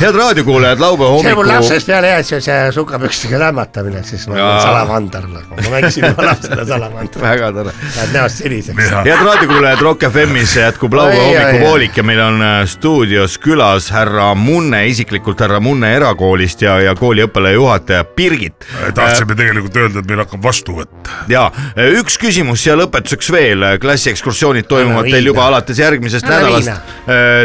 S4: head raadiokuulajad , laupäeva
S6: see on mul
S4: hommikul .
S6: lapsest peale jäänud see, see sukapükstega lämmatamine , siis ma
S4: Jaa.
S6: olen salamander nagu , ma mängisin juba lapsena salamandrit ,
S4: väga tore .
S6: läheb näost siniseks .
S4: head raadiokuulajad , Rock FM-is jätkub laupäeva
S6: Oi, oi,
S4: hommikupoolik ja meil on äh, stuudios külas härra Munne , isiklikult härra Munne erakoolist ja , ja kooli õppealajuhataja Birgit .
S9: äh, tahtsime tegelikult öelda , et meil hakkab vastuvõtt .
S4: ja äh, üks küsimus siia lõpetuseks veel , klassiekskursioonid toimuvad
S6: Anna
S4: teil juba
S6: viina.
S4: alates järgmisest
S6: Anna
S4: nädalast .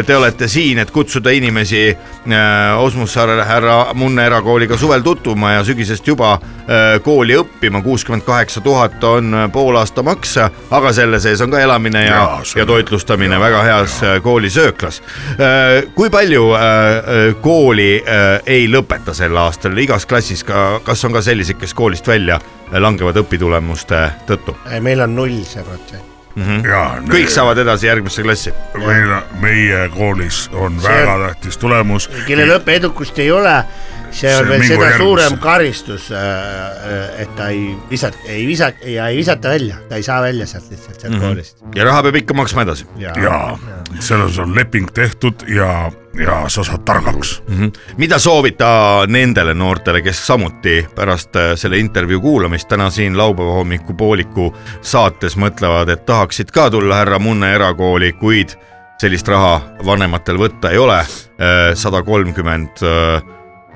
S4: Te olete siin , et kutsuda inimesi äh, Osmussaare härra Munne erakooliga suvel tutvuma ja sügisest juba äh, kooli õppima . kuuskümmend kaheksa tuhat on äh, poolaasta maks , aga selle sees on ka elamine ja ,
S9: Jaa,
S4: ja
S9: see-
S4: toitlustamine väga heas äh, koolisööklas . kui palju äh, äh, kooli äh, ei lõpeta sel aastal igas klassis ka , kas on ka selliseid , kes koolist välja langevad äh, õpitulemuste tõttu ?
S6: meil on null see protsent ,
S9: jaa .
S4: kõik saavad edasi järgmisse klassi .
S9: meil , meie koolis on see... väga tähtis tulemus .
S6: kellel õppeedukust ei ole , see
S9: See
S6: on veel
S9: mingu
S6: seda
S9: järgmisse.
S6: suurem karistus , et ta ei visa , ei visa ja ei visata välja , ta ei saa välja sealt lihtsalt , sealt koolist .
S4: ja raha peab ikka maksma edasi .
S9: jaa , selles on leping tehtud ja , ja sa saad targaks .
S4: Mhm. mida soovita nendele noortele , kes samuti pärast äh, selle intervjuu kuulamist täna siin laupäeva hommikupooliku saates mõtlevad , et tahaksid ka tulla härra Munne erakooli , kuid sellist raha vanematel võtta ei ole . sada kolmkümmend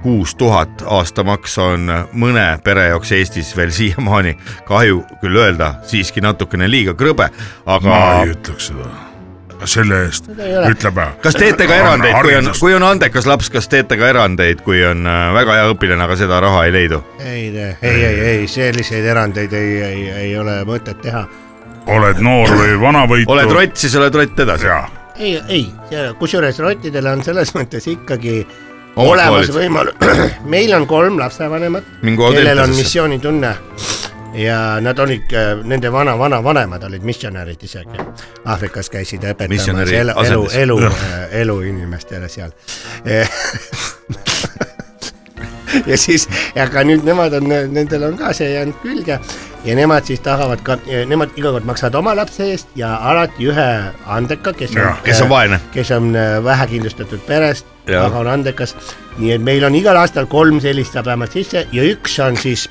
S4: kuus tuhat aastamaks on mõne pere jaoks Eestis veel siiamaani kahju küll öelda , siiski natukene liiga krõbe , aga
S9: ma ei ütleks seda . selle eest ütleme .
S4: kas teete ka erandeid , kui on , kui on andekas laps , kas teete ka erandeid , kui on äh, väga hea õpilane , aga seda raha ei leidu ?
S6: ei , ei , ei , ei selliseid erandeid ei , ei , ei ole mõtet teha .
S9: oled noor või vanavõitu .
S4: oled rott , siis oled rott edasi .
S9: jaa ,
S6: ei , ei , kusjuures rottidel on selles mõttes ikkagi
S4: Omad
S6: olemas
S4: koolid.
S6: võimalus , meil on kolm lapsevanemat ,
S4: Mingu
S6: kellel on
S4: Audentesesse.
S6: missioonitunne ja nad olid , nende vana-vanavanemad olid missionärid isegi . Aafrikas käisid õpetamas
S4: Missionäri
S6: elu , elu ,
S4: asendis.
S6: elu , äh, elu inimestele seal ja siis , aga nüüd nemad on , nendel on ka see jäänud külge ja nemad siis tahavad ka , nemad iga kord maksavad oma lapse eest ja alati ühe andeka , kes on
S9: Jah, ,
S4: kes on vaene. ,
S6: kes on äh, vähekindlustatud perest ,
S4: Jah.
S6: aga on andekas . nii et meil on igal aastal kolm sellist saab vähemalt sisse ja üks on siis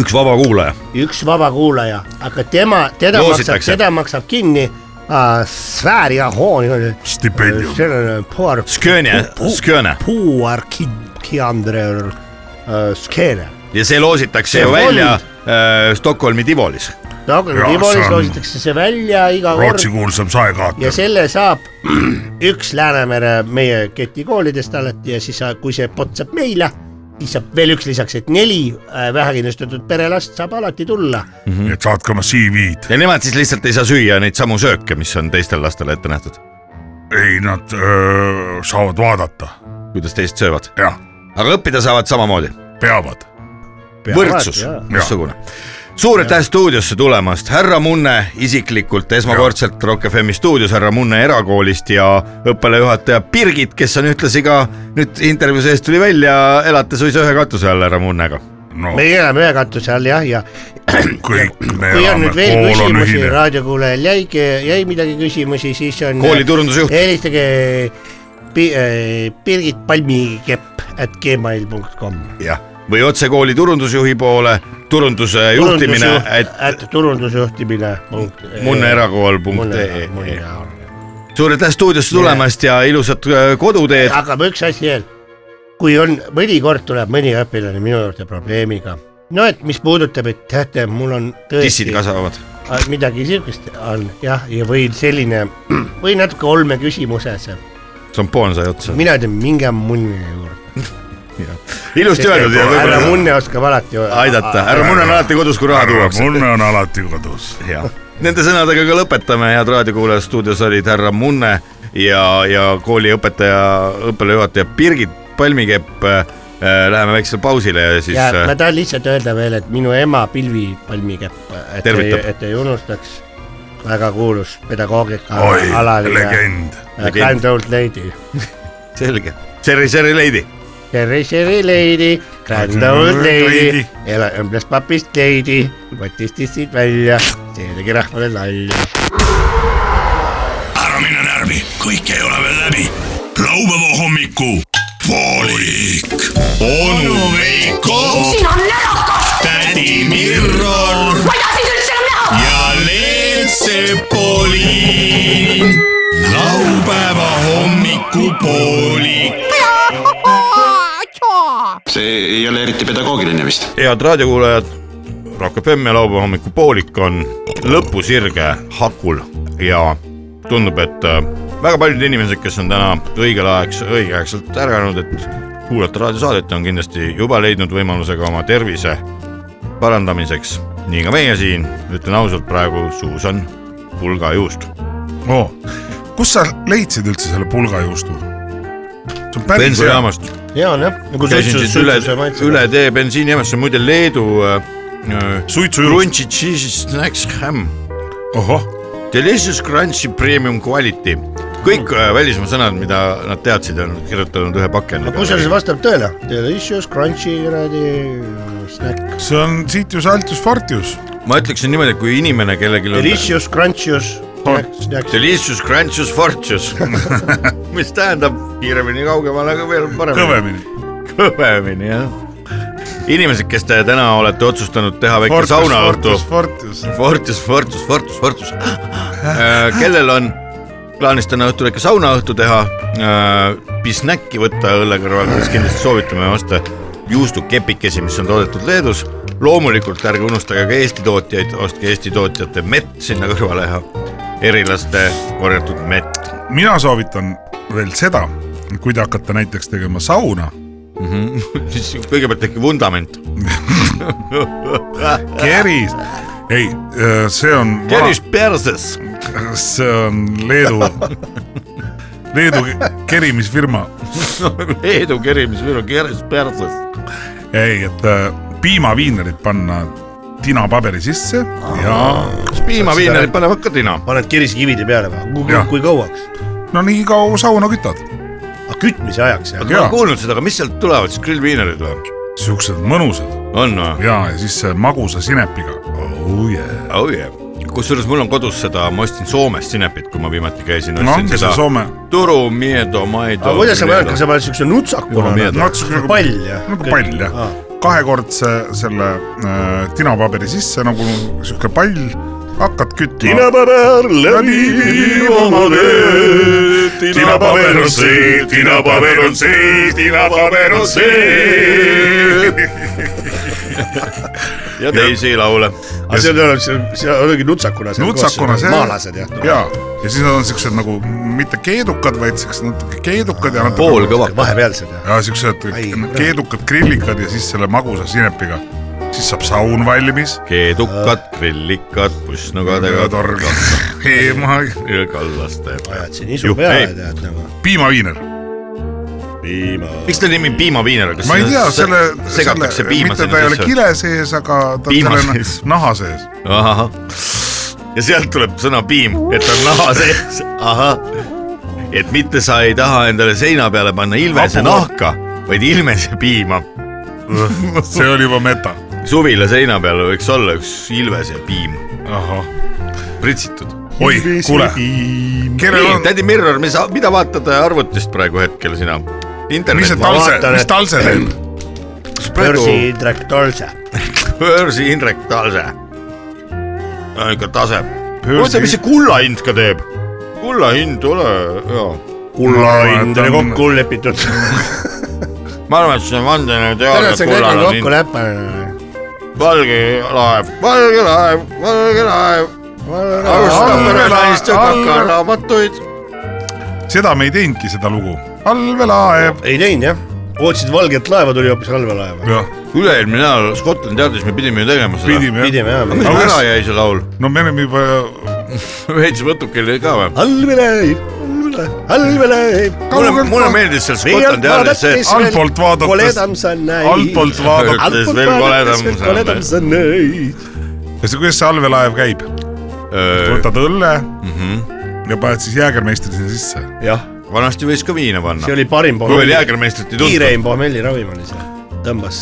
S4: üks vaba kuulaja .
S6: üks vabakuulaja , aga tema , teda maksab ,
S4: Loositakse.
S6: teda maksab kinni äh, sfääri ja hooni ,
S9: stipendium .
S6: sellel on paar
S4: Skjõne , Skjõne
S6: puuar kiandre äh, skeene
S4: ja see loositakse
S6: See
S4: ju
S6: fond.
S4: välja äh, Stockholmi Tivolis .
S6: Taagre
S9: Jaa,
S6: Tivolis
S9: see on-
S6: loositakse see välja iga
S9: Rootsi
S6: kord
S9: kuulsam saekaater
S6: ja . selle saab üks Läänemere meie ketikoolidest alati ja siis , kui see pott saab meile , siis saab veel üks lisaks , et neli äh, vähekindlustatud perelast saab alati tulla .
S9: et saatke oma CV-d .
S4: ja nemad siis lihtsalt ei saa süüa neid samu sööke , mis on teistel lastel ette nähtud .
S9: ei , nad öö, saavad vaadata ,
S4: kuidas teised söövad ,
S9: jah ,
S4: aga õppida saavad samamoodi .
S9: peavad .
S4: võrdsus , missugune . suur aitäh stuudiosse tulemast , härra Munne isiklikult esmakordselt Rock FM-i stuudios , härra Munne erakoolist ja õppealajuhataja Birgit , kes on ühtlasi ka nüüd intervjuu sees tuli välja , elate suisa ühe katuse all härra Munnega .
S9: no
S6: meie elame ühe katuse all jah , ja
S9: kõik me
S6: kui on
S9: elame ,
S6: nüüd veel
S9: kool on
S6: küsimusi ,
S9: ühine .
S6: raadiokuulajal jäigi , jäi midagi küsimusi , siis on .
S4: kooli turundusjuht ,
S6: helistage Pi- äh, Birgit Palmikepp at gmail punkt kom .
S4: jah , või otse kooli turundusjuhi poole , turunduse juhtimine , et
S6: et turundusjuhtimine punkt .
S4: munne erakool punkt
S6: mulle ,
S4: ee
S6: mulle . on .
S4: suur aitäh stuudiosse tulemast ja ilusat äh, koduteed ,
S6: aga ma üks asi veel , kui on , mõnikord tuleb mõni õpilane minu juurde probleemiga , no et mis puudutab , et teate , mul on
S4: tissid
S6: tõesti
S4: kasvavad .
S6: a- midagi siukest on jah , ja või selline või natuke olmeküsimuses ,
S4: šampoon sai otsa .
S6: mina ütlen , minge munni juurde .
S4: ilusti öeldud ja
S6: härra
S4: võib-olla
S6: Munne oskab alati
S4: aidata , härra Munne on alati kodus , kui raha
S9: härra
S4: tuuakse .
S9: Munne on alati kodus .
S4: jah , nende sõnadega ka lõpetame , head raadiokuulajad , stuudios olid härra Munne ja , ja kooliõpetaja , õppealajuhataja Birgit Palmikepp . Läheme väiksele pausile ja siis äh,
S6: ja ma
S4: ja,
S6: tahan lihtsalt öelda veel , et minu ema Pilvi Palmikepp , et ei,
S4: Tervitab.
S6: et ei unustaks , väga kuulus pedagoogika
S9: oi ,
S6: alaline
S9: legend .
S6: äh, kind old lady .
S4: selge . Cherry , Cherry Lady ,
S6: Cherry , cherry lady , grand old lady , ela õmbles papist lady , võttis tissid välja , see tegi rahvale nalja .
S5: ära mine närvi , kõik ei ole veel läbi . laupäeva hommiku poolik . onu Veiko ,
S2: siin on närakas ,
S5: tädi Mirror
S2: ma ei taha sind üldse enam näha .
S5: ja Leelsepoliin . laupäeva hommikupoolik .
S3: see ei ole eriti pedagoogiline vist .
S4: head raadiokuulajad . Rock FM ja laupäeva hommikupoolik on lõpusirge hakul ja tundub , et äh, väga paljud inimesed , kes on täna õigel ajaks , õigeaegselt ärganud , et kuulata raadiosaadet , on kindlasti juba leidnud võimaluse ka oma tervise parandamiseks . nii ka meie siin , ütlen ausalt , praegu suus on pulga juust .
S9: oo , kus sa leidsid üldse selle pulgajuustu ? see on päris hea .
S4: bensujaamast
S6: hea on jah , nagu
S4: käisin
S6: suitsus ,
S4: siis üle
S6: suitsuse , maitseb .
S4: üle tee bensiinijaamas , see on muide Leedu äh,
S9: suitsujuust .
S4: Crunchy Cheese Snacks Ham
S9: ohoh ,
S4: Delicious Crunchi Premium Quality . kõik äh, välismaa sõnad , mida nad teadsid , on kirjutanud ühe pakendile .
S6: kusjuures vastab tõele , delicious , crunchy kuradi äh, snack .
S9: see on sitius altius fartius .
S4: ma ütleksin niimoodi , et kui inimene kellelgi on
S6: Delicious , crunchious , snack .
S4: Delicious Crunchus Fortus , mis tähendab kiiremini , kaugemale , aga veel paremini .
S9: kõvemini .
S4: kõvemini , jah . inimesed , kes te täna olete otsustanud teha väike saunaõhtu
S9: fartius , fartius .
S4: Fortus , Fortus , Fortus , Fortus . kellel on plaanis täna õhtul ikka saunaõhtu teha , pisnäkki võtta õlle kõrval , siis kindlasti soovitame osta juustukepikesi , mis on toodetud Leedus . loomulikult ärge unustage ka Eesti tootjaid , ostke Eesti tootjate mett sinna kõrvale ja erilaste korjatud mett .
S9: mina soovitan veel seda , kui te hakkate näiteks tegema sauna ,
S4: siis kõigepealt tehke vundament ,
S9: keris , ei , see on ,
S4: keris perses ,
S9: see on Leedu , Leedu kerimisfirma ,
S4: Leedu kerimisfirma , keris perses .
S9: ei , et äh, piimaviinerid panna tinapaberi sisse ja
S4: kas piimaviinerid panevad ka tina ?
S6: paned kiriskivide peale või
S9: Jah. ?
S6: kui kauaks ?
S9: no nii kaua sauna kütad ,
S6: aga kütmise ajaks jah ?
S4: ma olen kuulnud seda , aga mis sealt tulevad siis , grillviinerid või ?
S9: siuksed mõnusad
S4: on või ?
S9: ja , ja siis see magusa sinepiga oh, . Yeah.
S4: oh yeah . kusjuures mul on kodus seda , ma ostsin Soomest sinepit , kui ma viimati käisin ,
S9: no
S4: ostsin
S9: ongi see
S4: seda
S9: Ah, Soome ,
S4: Turu Miedo Maido .
S6: aga kuidas sa paned , kas sa paned siukse nutsakuna
S4: Jumala meelde.
S6: nagu pall jah ?
S9: nagu pall jah
S6: Aa. ,
S9: kahekordse selle äh, tinapaberi sisse nagu sihuke pall , hakkad kütma .
S6: tinapaber läbi oma töö ,
S9: tinapaber on see, tinapaber on
S6: see , tinapaber on see .
S4: ja teisi laule .
S6: aga see tuleb , see , see oligi nutsakuna .
S9: nutsakuna see .
S6: maalased jah .
S9: ja , ja siis nad on siuksed nagu mitte keedukad , vaid siuksed natuke keedukad ja .
S4: poolkõvakad .
S6: vahepealsed jah .
S9: ja siuksed nagu
S6: Ai, kurat.
S9: keedukad grillikad ja siis selle magusa sinepiga , siis saab saun valmis .
S4: keedukad , grillikad , pussnugadega
S9: torgad eema ,
S4: ja kallaste .
S6: ajad siin isu peale tead nagu .
S9: piimaviiner .
S4: miks ta nimi piimaviiner , kas
S9: ma ei tea ,
S4: sinna
S9: selle ,
S4: segatakse
S9: selle ,
S4: piima
S9: mitte ta ei ole
S4: või ?
S9: kile sees , aga ta on
S4: Piima
S9: selle
S4: sees.
S9: naha sees .
S4: ahah , ja sealt tuleb sõna piim , et on naha sees , ahah . et mitte sa ei taha endale seina peale panna ilvese
S9: Vapu-
S4: nahka , vaid ilmese piima
S9: see oli juba meta .
S4: suvila seina peal võiks olla üks ilvese piim
S9: ahah ,
S4: pritsitud .
S9: oi , kuule , kellel
S4: nii ,
S9: on ,
S4: tädi Mirror , mis , mida vaatad arvutist praegu hetkel sina ?
S9: mis see
S4: internet ,
S9: talse ,
S6: vaatan,
S9: mis
S6: et-
S9: talse teeb ?
S4: praegu
S6: börsi Indrek Tolse .
S4: börsi Indrek Talse . ikka tase . oota , mis see kulla hind ka teeb ? kulla hind , ole hea .
S6: kulla
S9: Ma
S6: hind oli
S9: vaatan-
S6: kokku lepitud .
S4: ma arvan , et see on
S6: täna see kõik on
S4: vandenõuteooria
S6: kokku . läpanud .
S4: valge laev , valge laev , valge laev . alustame
S9: Allvela-
S4: naiste
S9: Allve-
S4: takaraamatuid .
S9: seda me ei teinudki , seda lugu . allveelaev .
S6: ei teinud jah , ootasid valget laeva , tuli hoopis allveelaeva .
S9: jah ,
S4: üle-eelmine ajal Scotland Yardis me pidime ju tegema seda .
S9: pidime jah .
S6: pidime
S4: mis
S6: jah .
S9: Aga
S4: meil ära
S9: kas-
S4: jäi see laul ?
S9: no me oleme juba ,
S4: veits võtukil oli ka või ?
S6: allveelaev , allveelaev .
S4: mulle ,
S9: Kaugelt
S4: mulle
S9: ma-
S4: meeldis seal Scotland Yardis see ,
S9: Altpoolt vaadates-
S6: koledam sa näid .
S9: altpoolt vaadata .
S4: ütles veel koledam seal
S6: koledam . sa näid .
S9: ja see , kuidas see allveelaev käib ? võtad õlle ja paned siis jäägermeistri sinna sisse .
S6: jah ,
S4: vanasti võis ka viina
S6: see
S4: panna .
S6: oli parim
S4: kui veel
S6: pommelli ,
S4: jäägermeistrit ei tuntud . Ah.
S6: kiireim pommelliravim oli see , tõmbas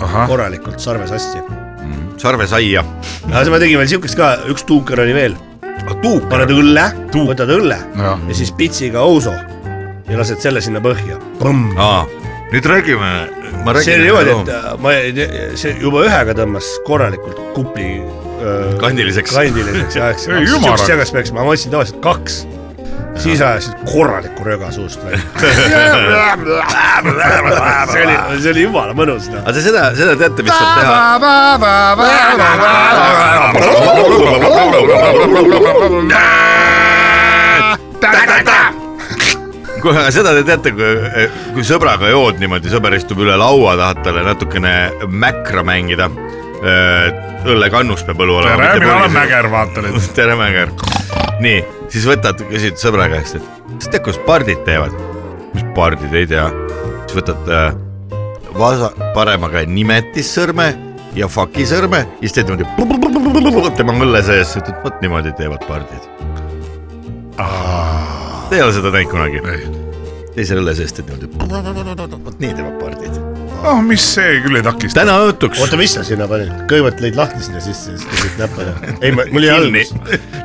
S9: ahah ,
S6: korralikult sarve sassi .
S4: Mm. sarvesaia .
S6: aga siis ma tegin veel siukest ka , üks tuuker oli veel ,
S4: Ah, tuuk .
S6: paned õlle ,
S9: Tuuk-
S6: võtad õlle
S9: jah .
S6: ja siis pitsiga ouso ja lased selle sinna põhja .
S4: nüüd räägime .
S6: see oli niimoodi , et äh, ma , see juba ühega tõmbas korralikult kupli äh,
S4: Kandiliseks.
S6: kandiliseks ja eks
S9: Ei, jumal.
S6: siukest jagast peaks , ma võtsin tavaliselt kaks , siis ajasid korraliku röga suust välja . see oli , see oli jumala mõnus noh .
S4: aga te seda , seda teate , mis saab teha ? kuule , aga seda te teate , kui , kui sõbraga jood niimoodi , sõber istub üle laua , tahad talle natukene mäkra mängida . õllekannus peab õlu olema .
S9: tere , mina olen . Mäger , vaata nüüd .
S4: tere , Mäger . nii , siis võtad , küsid sõbra käest , et kas tead , kuidas pardid teevad ? mis pardid , ei tea . siis võtad äh, vasa- , parema käe nimetissõrme ja faki sõrme , siis teed niimoodi tema õlle sees , ütled vot niimoodi teevad pardid . Te ei ole seda näinud kunagi ? teise õlle sees teed niimoodi , vot nii teevad pardid .
S9: ah , mis see küll ei takista .
S4: täna õhtuks
S6: oota , mis sa sinna panid , kõigepealt lõid lahti sinna sisse , siis tegid näppe ära . ei , mul jäi
S4: kinni
S6: algus .,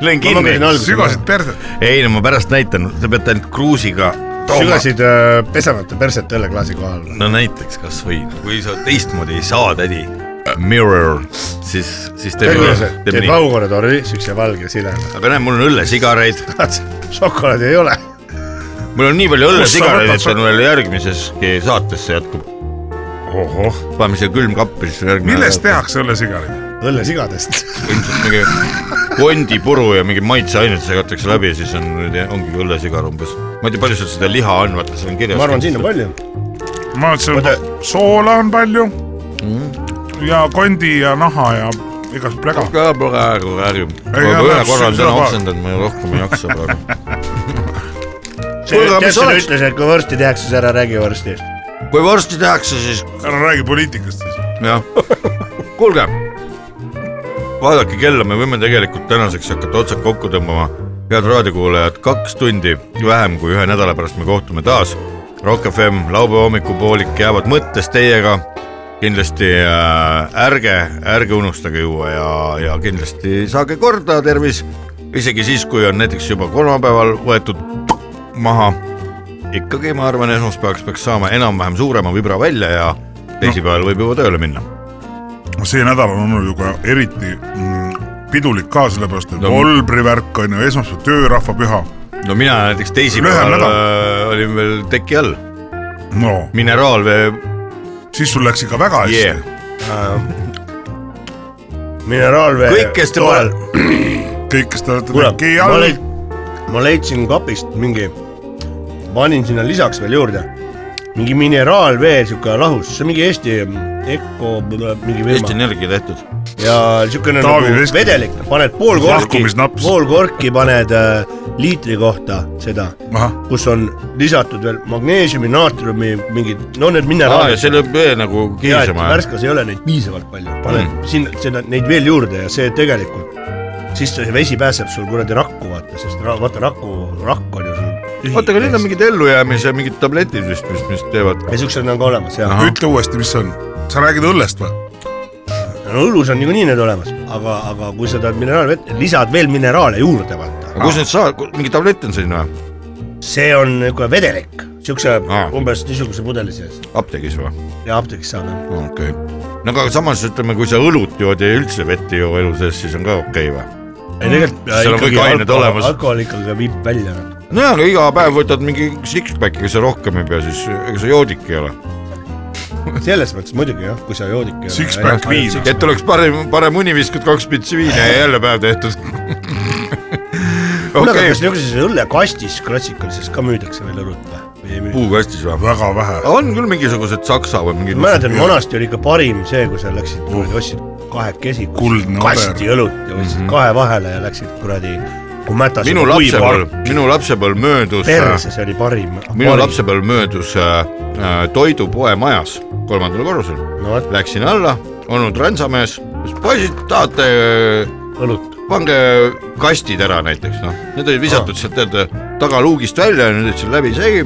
S4: lõin
S6: Ma lugesin
S4: kinni .
S6: alguses.
S9: sügasid perse .
S4: ei no ma pärast näitan , te peate ainult kruusiga tooma .
S6: sügasid äh, pesemata perset õlleklaasi kohal .
S4: no näiteks kasvõi , kui sa teistmoodi ei saa , tädi . Mirror , siis , siis teeme
S6: teed
S4: nii- teeme
S6: teed
S4: nii .
S6: vaugonatorni , siukse valge silega .
S4: aga näe , mul on õllesigareid
S6: šokolaadi ei ole .
S4: mul on nii palju
S9: Kus sa
S4: õllesigareid , et
S9: võtad
S4: on veel järgmiseski saatesse jätkub .
S9: ohoh ,
S4: paneme siia külmkappi , siis järgmine .
S9: millest ? tehakse õllesigareid ?
S6: õllesigadest .
S4: ilmselt mingi kondipuru ja mingi maitseained segatakse läbi ja siis on , ongi õllesigar umbes . ma ei tea , palju seal seda liha on , vaata seal on kirjas .
S6: ma arvan , siin on . palju .
S9: ma ütlesin
S6: Oota. ,
S9: soola on palju ja kondi ja naha ja igasugust pläga .
S4: ka praegu räägib .
S9: Ei,
S4: aga
S9: aga
S4: ühe
S9: see-
S4: korra on
S9: seda
S4: täna
S9: ma-
S4: oksendanud , ma rohkem ei jaksa praegu . Kuulge, aga mis
S6: Kevson
S4: oleks-
S6: ütles , et kui vorsti tehakse , siis ära räägi vorsti eest .
S4: kui vorsti tehakse , siis
S9: ära räägi poliitikast siis .
S4: jah . kuulge , vaadake kella , me võime tegelikult tänaseks hakata otsad kokku tõmbama . head raadiokuulajad , kaks tundi vähem kui ühe nädala pärast me kohtume taas . Rock FM laupäeva hommikupoolik jäävad mõttes teiega . kindlasti äh, ärge , ärge unustage juua ja , ja kindlasti saage korda tervis . isegi siis , kui on näiteks juba kolmapäeval võetud maha ikkagi ma arvan , esmaspäevaks peaks saama enam-vähem suurema vibra välja ja teisipäeval võib juba tööle minna .
S9: see nädal on olnud ju ka eriti mm, pidulik ka , sellepärast et
S4: No-
S9: no. volbrivärk on ju esmaspäev , töörahvapüha .
S4: no mina näiteks
S9: Lühem
S4: teisipäeval
S9: nädal.
S4: äh, olin veel teki all ,
S9: no
S4: mineraalvee
S9: siis sul läks ikka väga hästi
S4: jee
S9: yeah. .,
S6: mineraalvee .
S4: kõikeste pool .
S9: kõik , kes te olete
S6: kuule
S9: teki ,
S6: ma
S9: all
S6: leid- , ma leidsin kapist mingi , panin sinna lisaks veel juurde , mingi mineraalvee sihuke lahus , see on mingi Eesti Eco , mingi
S4: Eesti
S6: firma
S4: Energia tehtud .
S6: ja siukene
S9: Taavi
S6: nagu
S9: Veski.
S6: vedelik , paned pool korki ,
S9: Lahkumisnaps.
S6: pool korki paned äh, liitri kohta seda ,
S9: ahah ,
S6: kus on lisatud veel magneesiumi , naatriumi , mingid , no
S4: aa ,
S6: need
S4: ja
S6: mineraalid .
S4: see lööb vee nagu
S6: ja , et
S4: kiisema .
S6: värskas ei ole neid piisavalt palju , paned mm. sinna , seda , neid veel juurde ja see tegelikult , siis see vesi pääseb sul kuradi rakku vaata , sest ra, vaata raku , rakk on ju sul .
S4: oota , aga neil on . mingid ellujäämise mingid tabletid vist , mis , mis teevad .
S6: ja siuksed on ka olemas ja
S9: ütle uuesti , mis see on , sa räägid õllest või ?
S6: no, õlus on niikuinii need olemas , aga , aga kui sa tahad mineraalvett , lisad veel mineraale juurde vaata ,
S4: aga kus need saavad , mingi tablett on selline või ?
S6: see on niisugune vedelik , siukse
S4: Aa.
S6: umbes niisuguse pudeli sees
S4: apteegis või ?
S6: ja apteegist saad .
S4: okei okay. . no aga samas ütleme , kui sa õlut jood ja üldse vett ei joo elu sees , siis on ka okei okay, või ?
S6: ei tegelikult äh,
S4: Seal on kõik ained olemas.
S6: alkohol ikkagi viib välja noh. natuke .
S4: nojah , aga iga päev võtad mingi six-packi , kui sa rohkem ei pea , siis ega sa joodik ei ole .
S6: selles mõttes muidugi jah , kui sa joodik ei ole .
S9: Six-pack viina.
S4: et oleks parem , parem uni , viskad kaks pitsi viina ja jälle päev tehtud .
S6: kuule , aga
S4: okei
S6: kas , niisuguses õllekastis klassikalises ka müüdakse veel õlut või ? või ei müü ?
S4: puukastis või ?
S9: väga vähe .
S4: on küll mingisugused saksa või
S6: ma mäletan ,
S4: mingid .
S6: vanasti oli ikka parim see , kui sa läksid kuradi , ostsid kahekesi
S9: Kuldne
S6: kasti õlut ja võtsid kahe vahele ja läksid kuradi , kui mätas
S4: Mhm. minu lapsepõlv , minu lapsepõlv möödus ,
S6: perse , see oli parim .
S4: minu lapsepõlv möödus äh, äh, toidupoe majas kolmandal korrusel .
S6: no vot ,
S4: Läksin alla , olnud ränsamees , poisid , tahate äh,
S6: õlut .
S4: pange kastid ära näiteks noh , need olid visatud sealt tead tagaluugist välja ja nüüd ütlesin läbi segi ,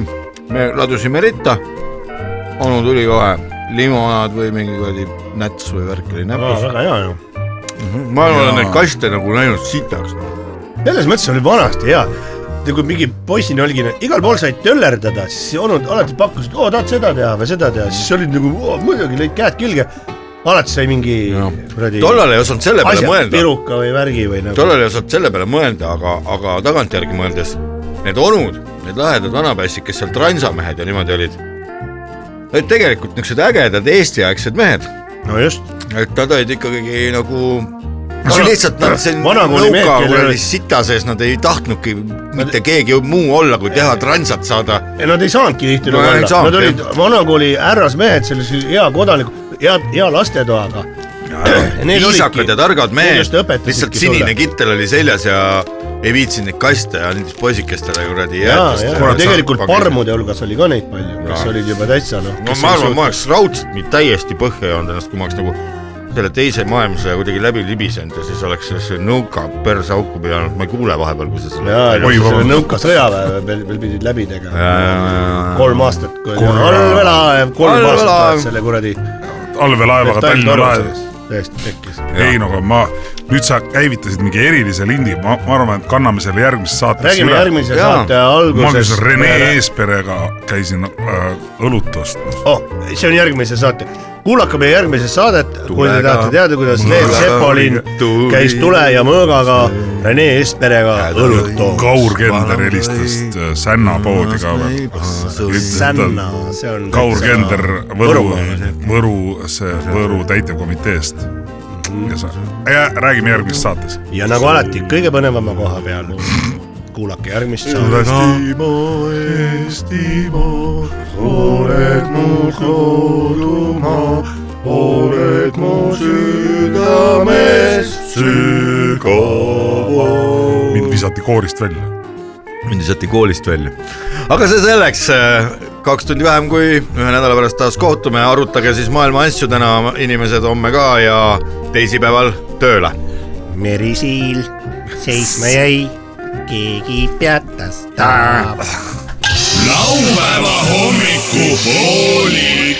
S4: me ladusime ritta , onu tuli kohe , limonaad või mingi kuradi näts või värk oli näpus ,
S6: väga hea ju .
S4: ma olen neid kaste nagu näinud sitaks .
S6: selles mõttes oli vanasti hea . ja kui mingi poissina oligi , igal pool said töllerdada , siis onud alati pakkusid , oo tahad seda teha või seda teha , siis olid nagu "Oo, muidugi lõid käed külge . alati sai mingi kuradi
S4: tollal ei osanud selle peale
S6: asja ,
S4: mõelda ,
S6: piruka või värgi või nagu .
S4: tollal ei osanud selle peale mõelda , aga , aga tagantjärgi mõeldes need onud , need lahedad vanapäissid , kes seal transamehed ja niimoodi olid , olid tegelikult niisugused ägedad eestiaegsed mehed
S6: no just .
S4: et nad olid ikkagi nagu no see lihtsalt nad siin
S6: vanakooli mehed,
S4: nõuka
S6: kellel
S4: kuradi
S6: olid-
S4: sita sees nad ei tahtnudki mitte keegi muu olla , kui teha transat saada .
S6: Nad ei saanudki tihtilugu
S4: No ei
S6: olla ,
S4: saanudki,
S6: nad olid vanakooli härrasmehed , sellise hea kodaniku , hea , hea lastetoaga .
S4: viisakad ja targad mehed , lihtsalt sinine
S6: kipp .
S4: kittel oli seljas ja ei viitsinud neid kaste ja andis poisikestele kuradi
S6: ja ,
S4: jäätist .
S6: ja tegelikult . parmude hulgas oli ka neid palju , kes olid juba täitsa noh .
S4: no ma arvan , ma oleks raudselt mind täiesti põhja joonud ennast , kui ma oleks nagu selle teise maailmasõja kuidagi läbi libisenud ja siis oleks see nõuka persauku pidanud , ma ei kuule vahepeal , kui sa selle .
S6: jaa ,
S9: Oi,
S6: ega siis
S9: vabandust.
S6: oli nõuka sõjaväe veel , veel pidid läbi tegema . kolm aastat , kui
S9: Kolm-
S6: allveelaev , kolm aastat
S4: Allveelaev.
S6: ajad selle kuradi
S9: allveelaevaga Tallinna laev
S6: metalltorus täiesti tekkis .
S9: ei no aga ma , nüüd sa käivitasid mingi erilise lindi , ma , ma arvan , et kanname selle järgmises saates
S6: räägime
S9: üle .
S6: järgmise
S4: Jaa.
S6: saate
S9: ma käis
S6: alguses .
S9: Rene Eesperega käisin äh, õlut ostmas .
S6: oh, . see on järgmise saate , kuulake meie järgmises saadet , kui te
S4: Tulega,
S6: tahate teada , kuidas Leep
S4: mõõgaga
S6: Sepolin
S4: tuli.
S6: käis tule ja mõõgaga Rene Esperega õlut toomas .
S9: Kaur Kender helistas äh, Sänna poodi ka veel .
S6: Sänna , see on .
S9: Kaur Kender Võru , Võru , see Võru täitevkomiteest . ja sa , ja räägime järgmises saates .
S6: ja nagu alati , kõige põnevama koha peal . kuulake järgmist saadet .
S9: Eestimaa , Eestimaa , oled mu kodumaa , oled mu südames sügaval . mind visati koorist välja .
S4: mind visati koolist välja . aga see selleks , kaks tundi vähem kui ühe nädala pärast taas kohtume , arutage siis maailma asju täna , inimesed homme ka ja teisipäeval tööle .
S11: merisiil seisma jäi , keegi peatas ta
S5: laupäeva hommikupoolik .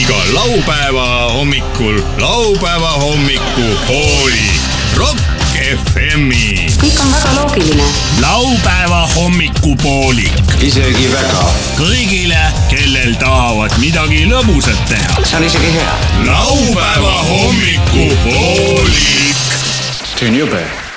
S5: iga laupäeva hommikul laupäeva hommikupoolik . Rock FM-i .
S2: kõik on väga loogiline .
S5: laupäeva hommikupoolik
S3: isegi väga .
S5: kõigile , kellel tahavad midagi lõbusat teha .
S2: see on isegi hea .
S5: laupäeva hommikupoolik .
S3: see on jube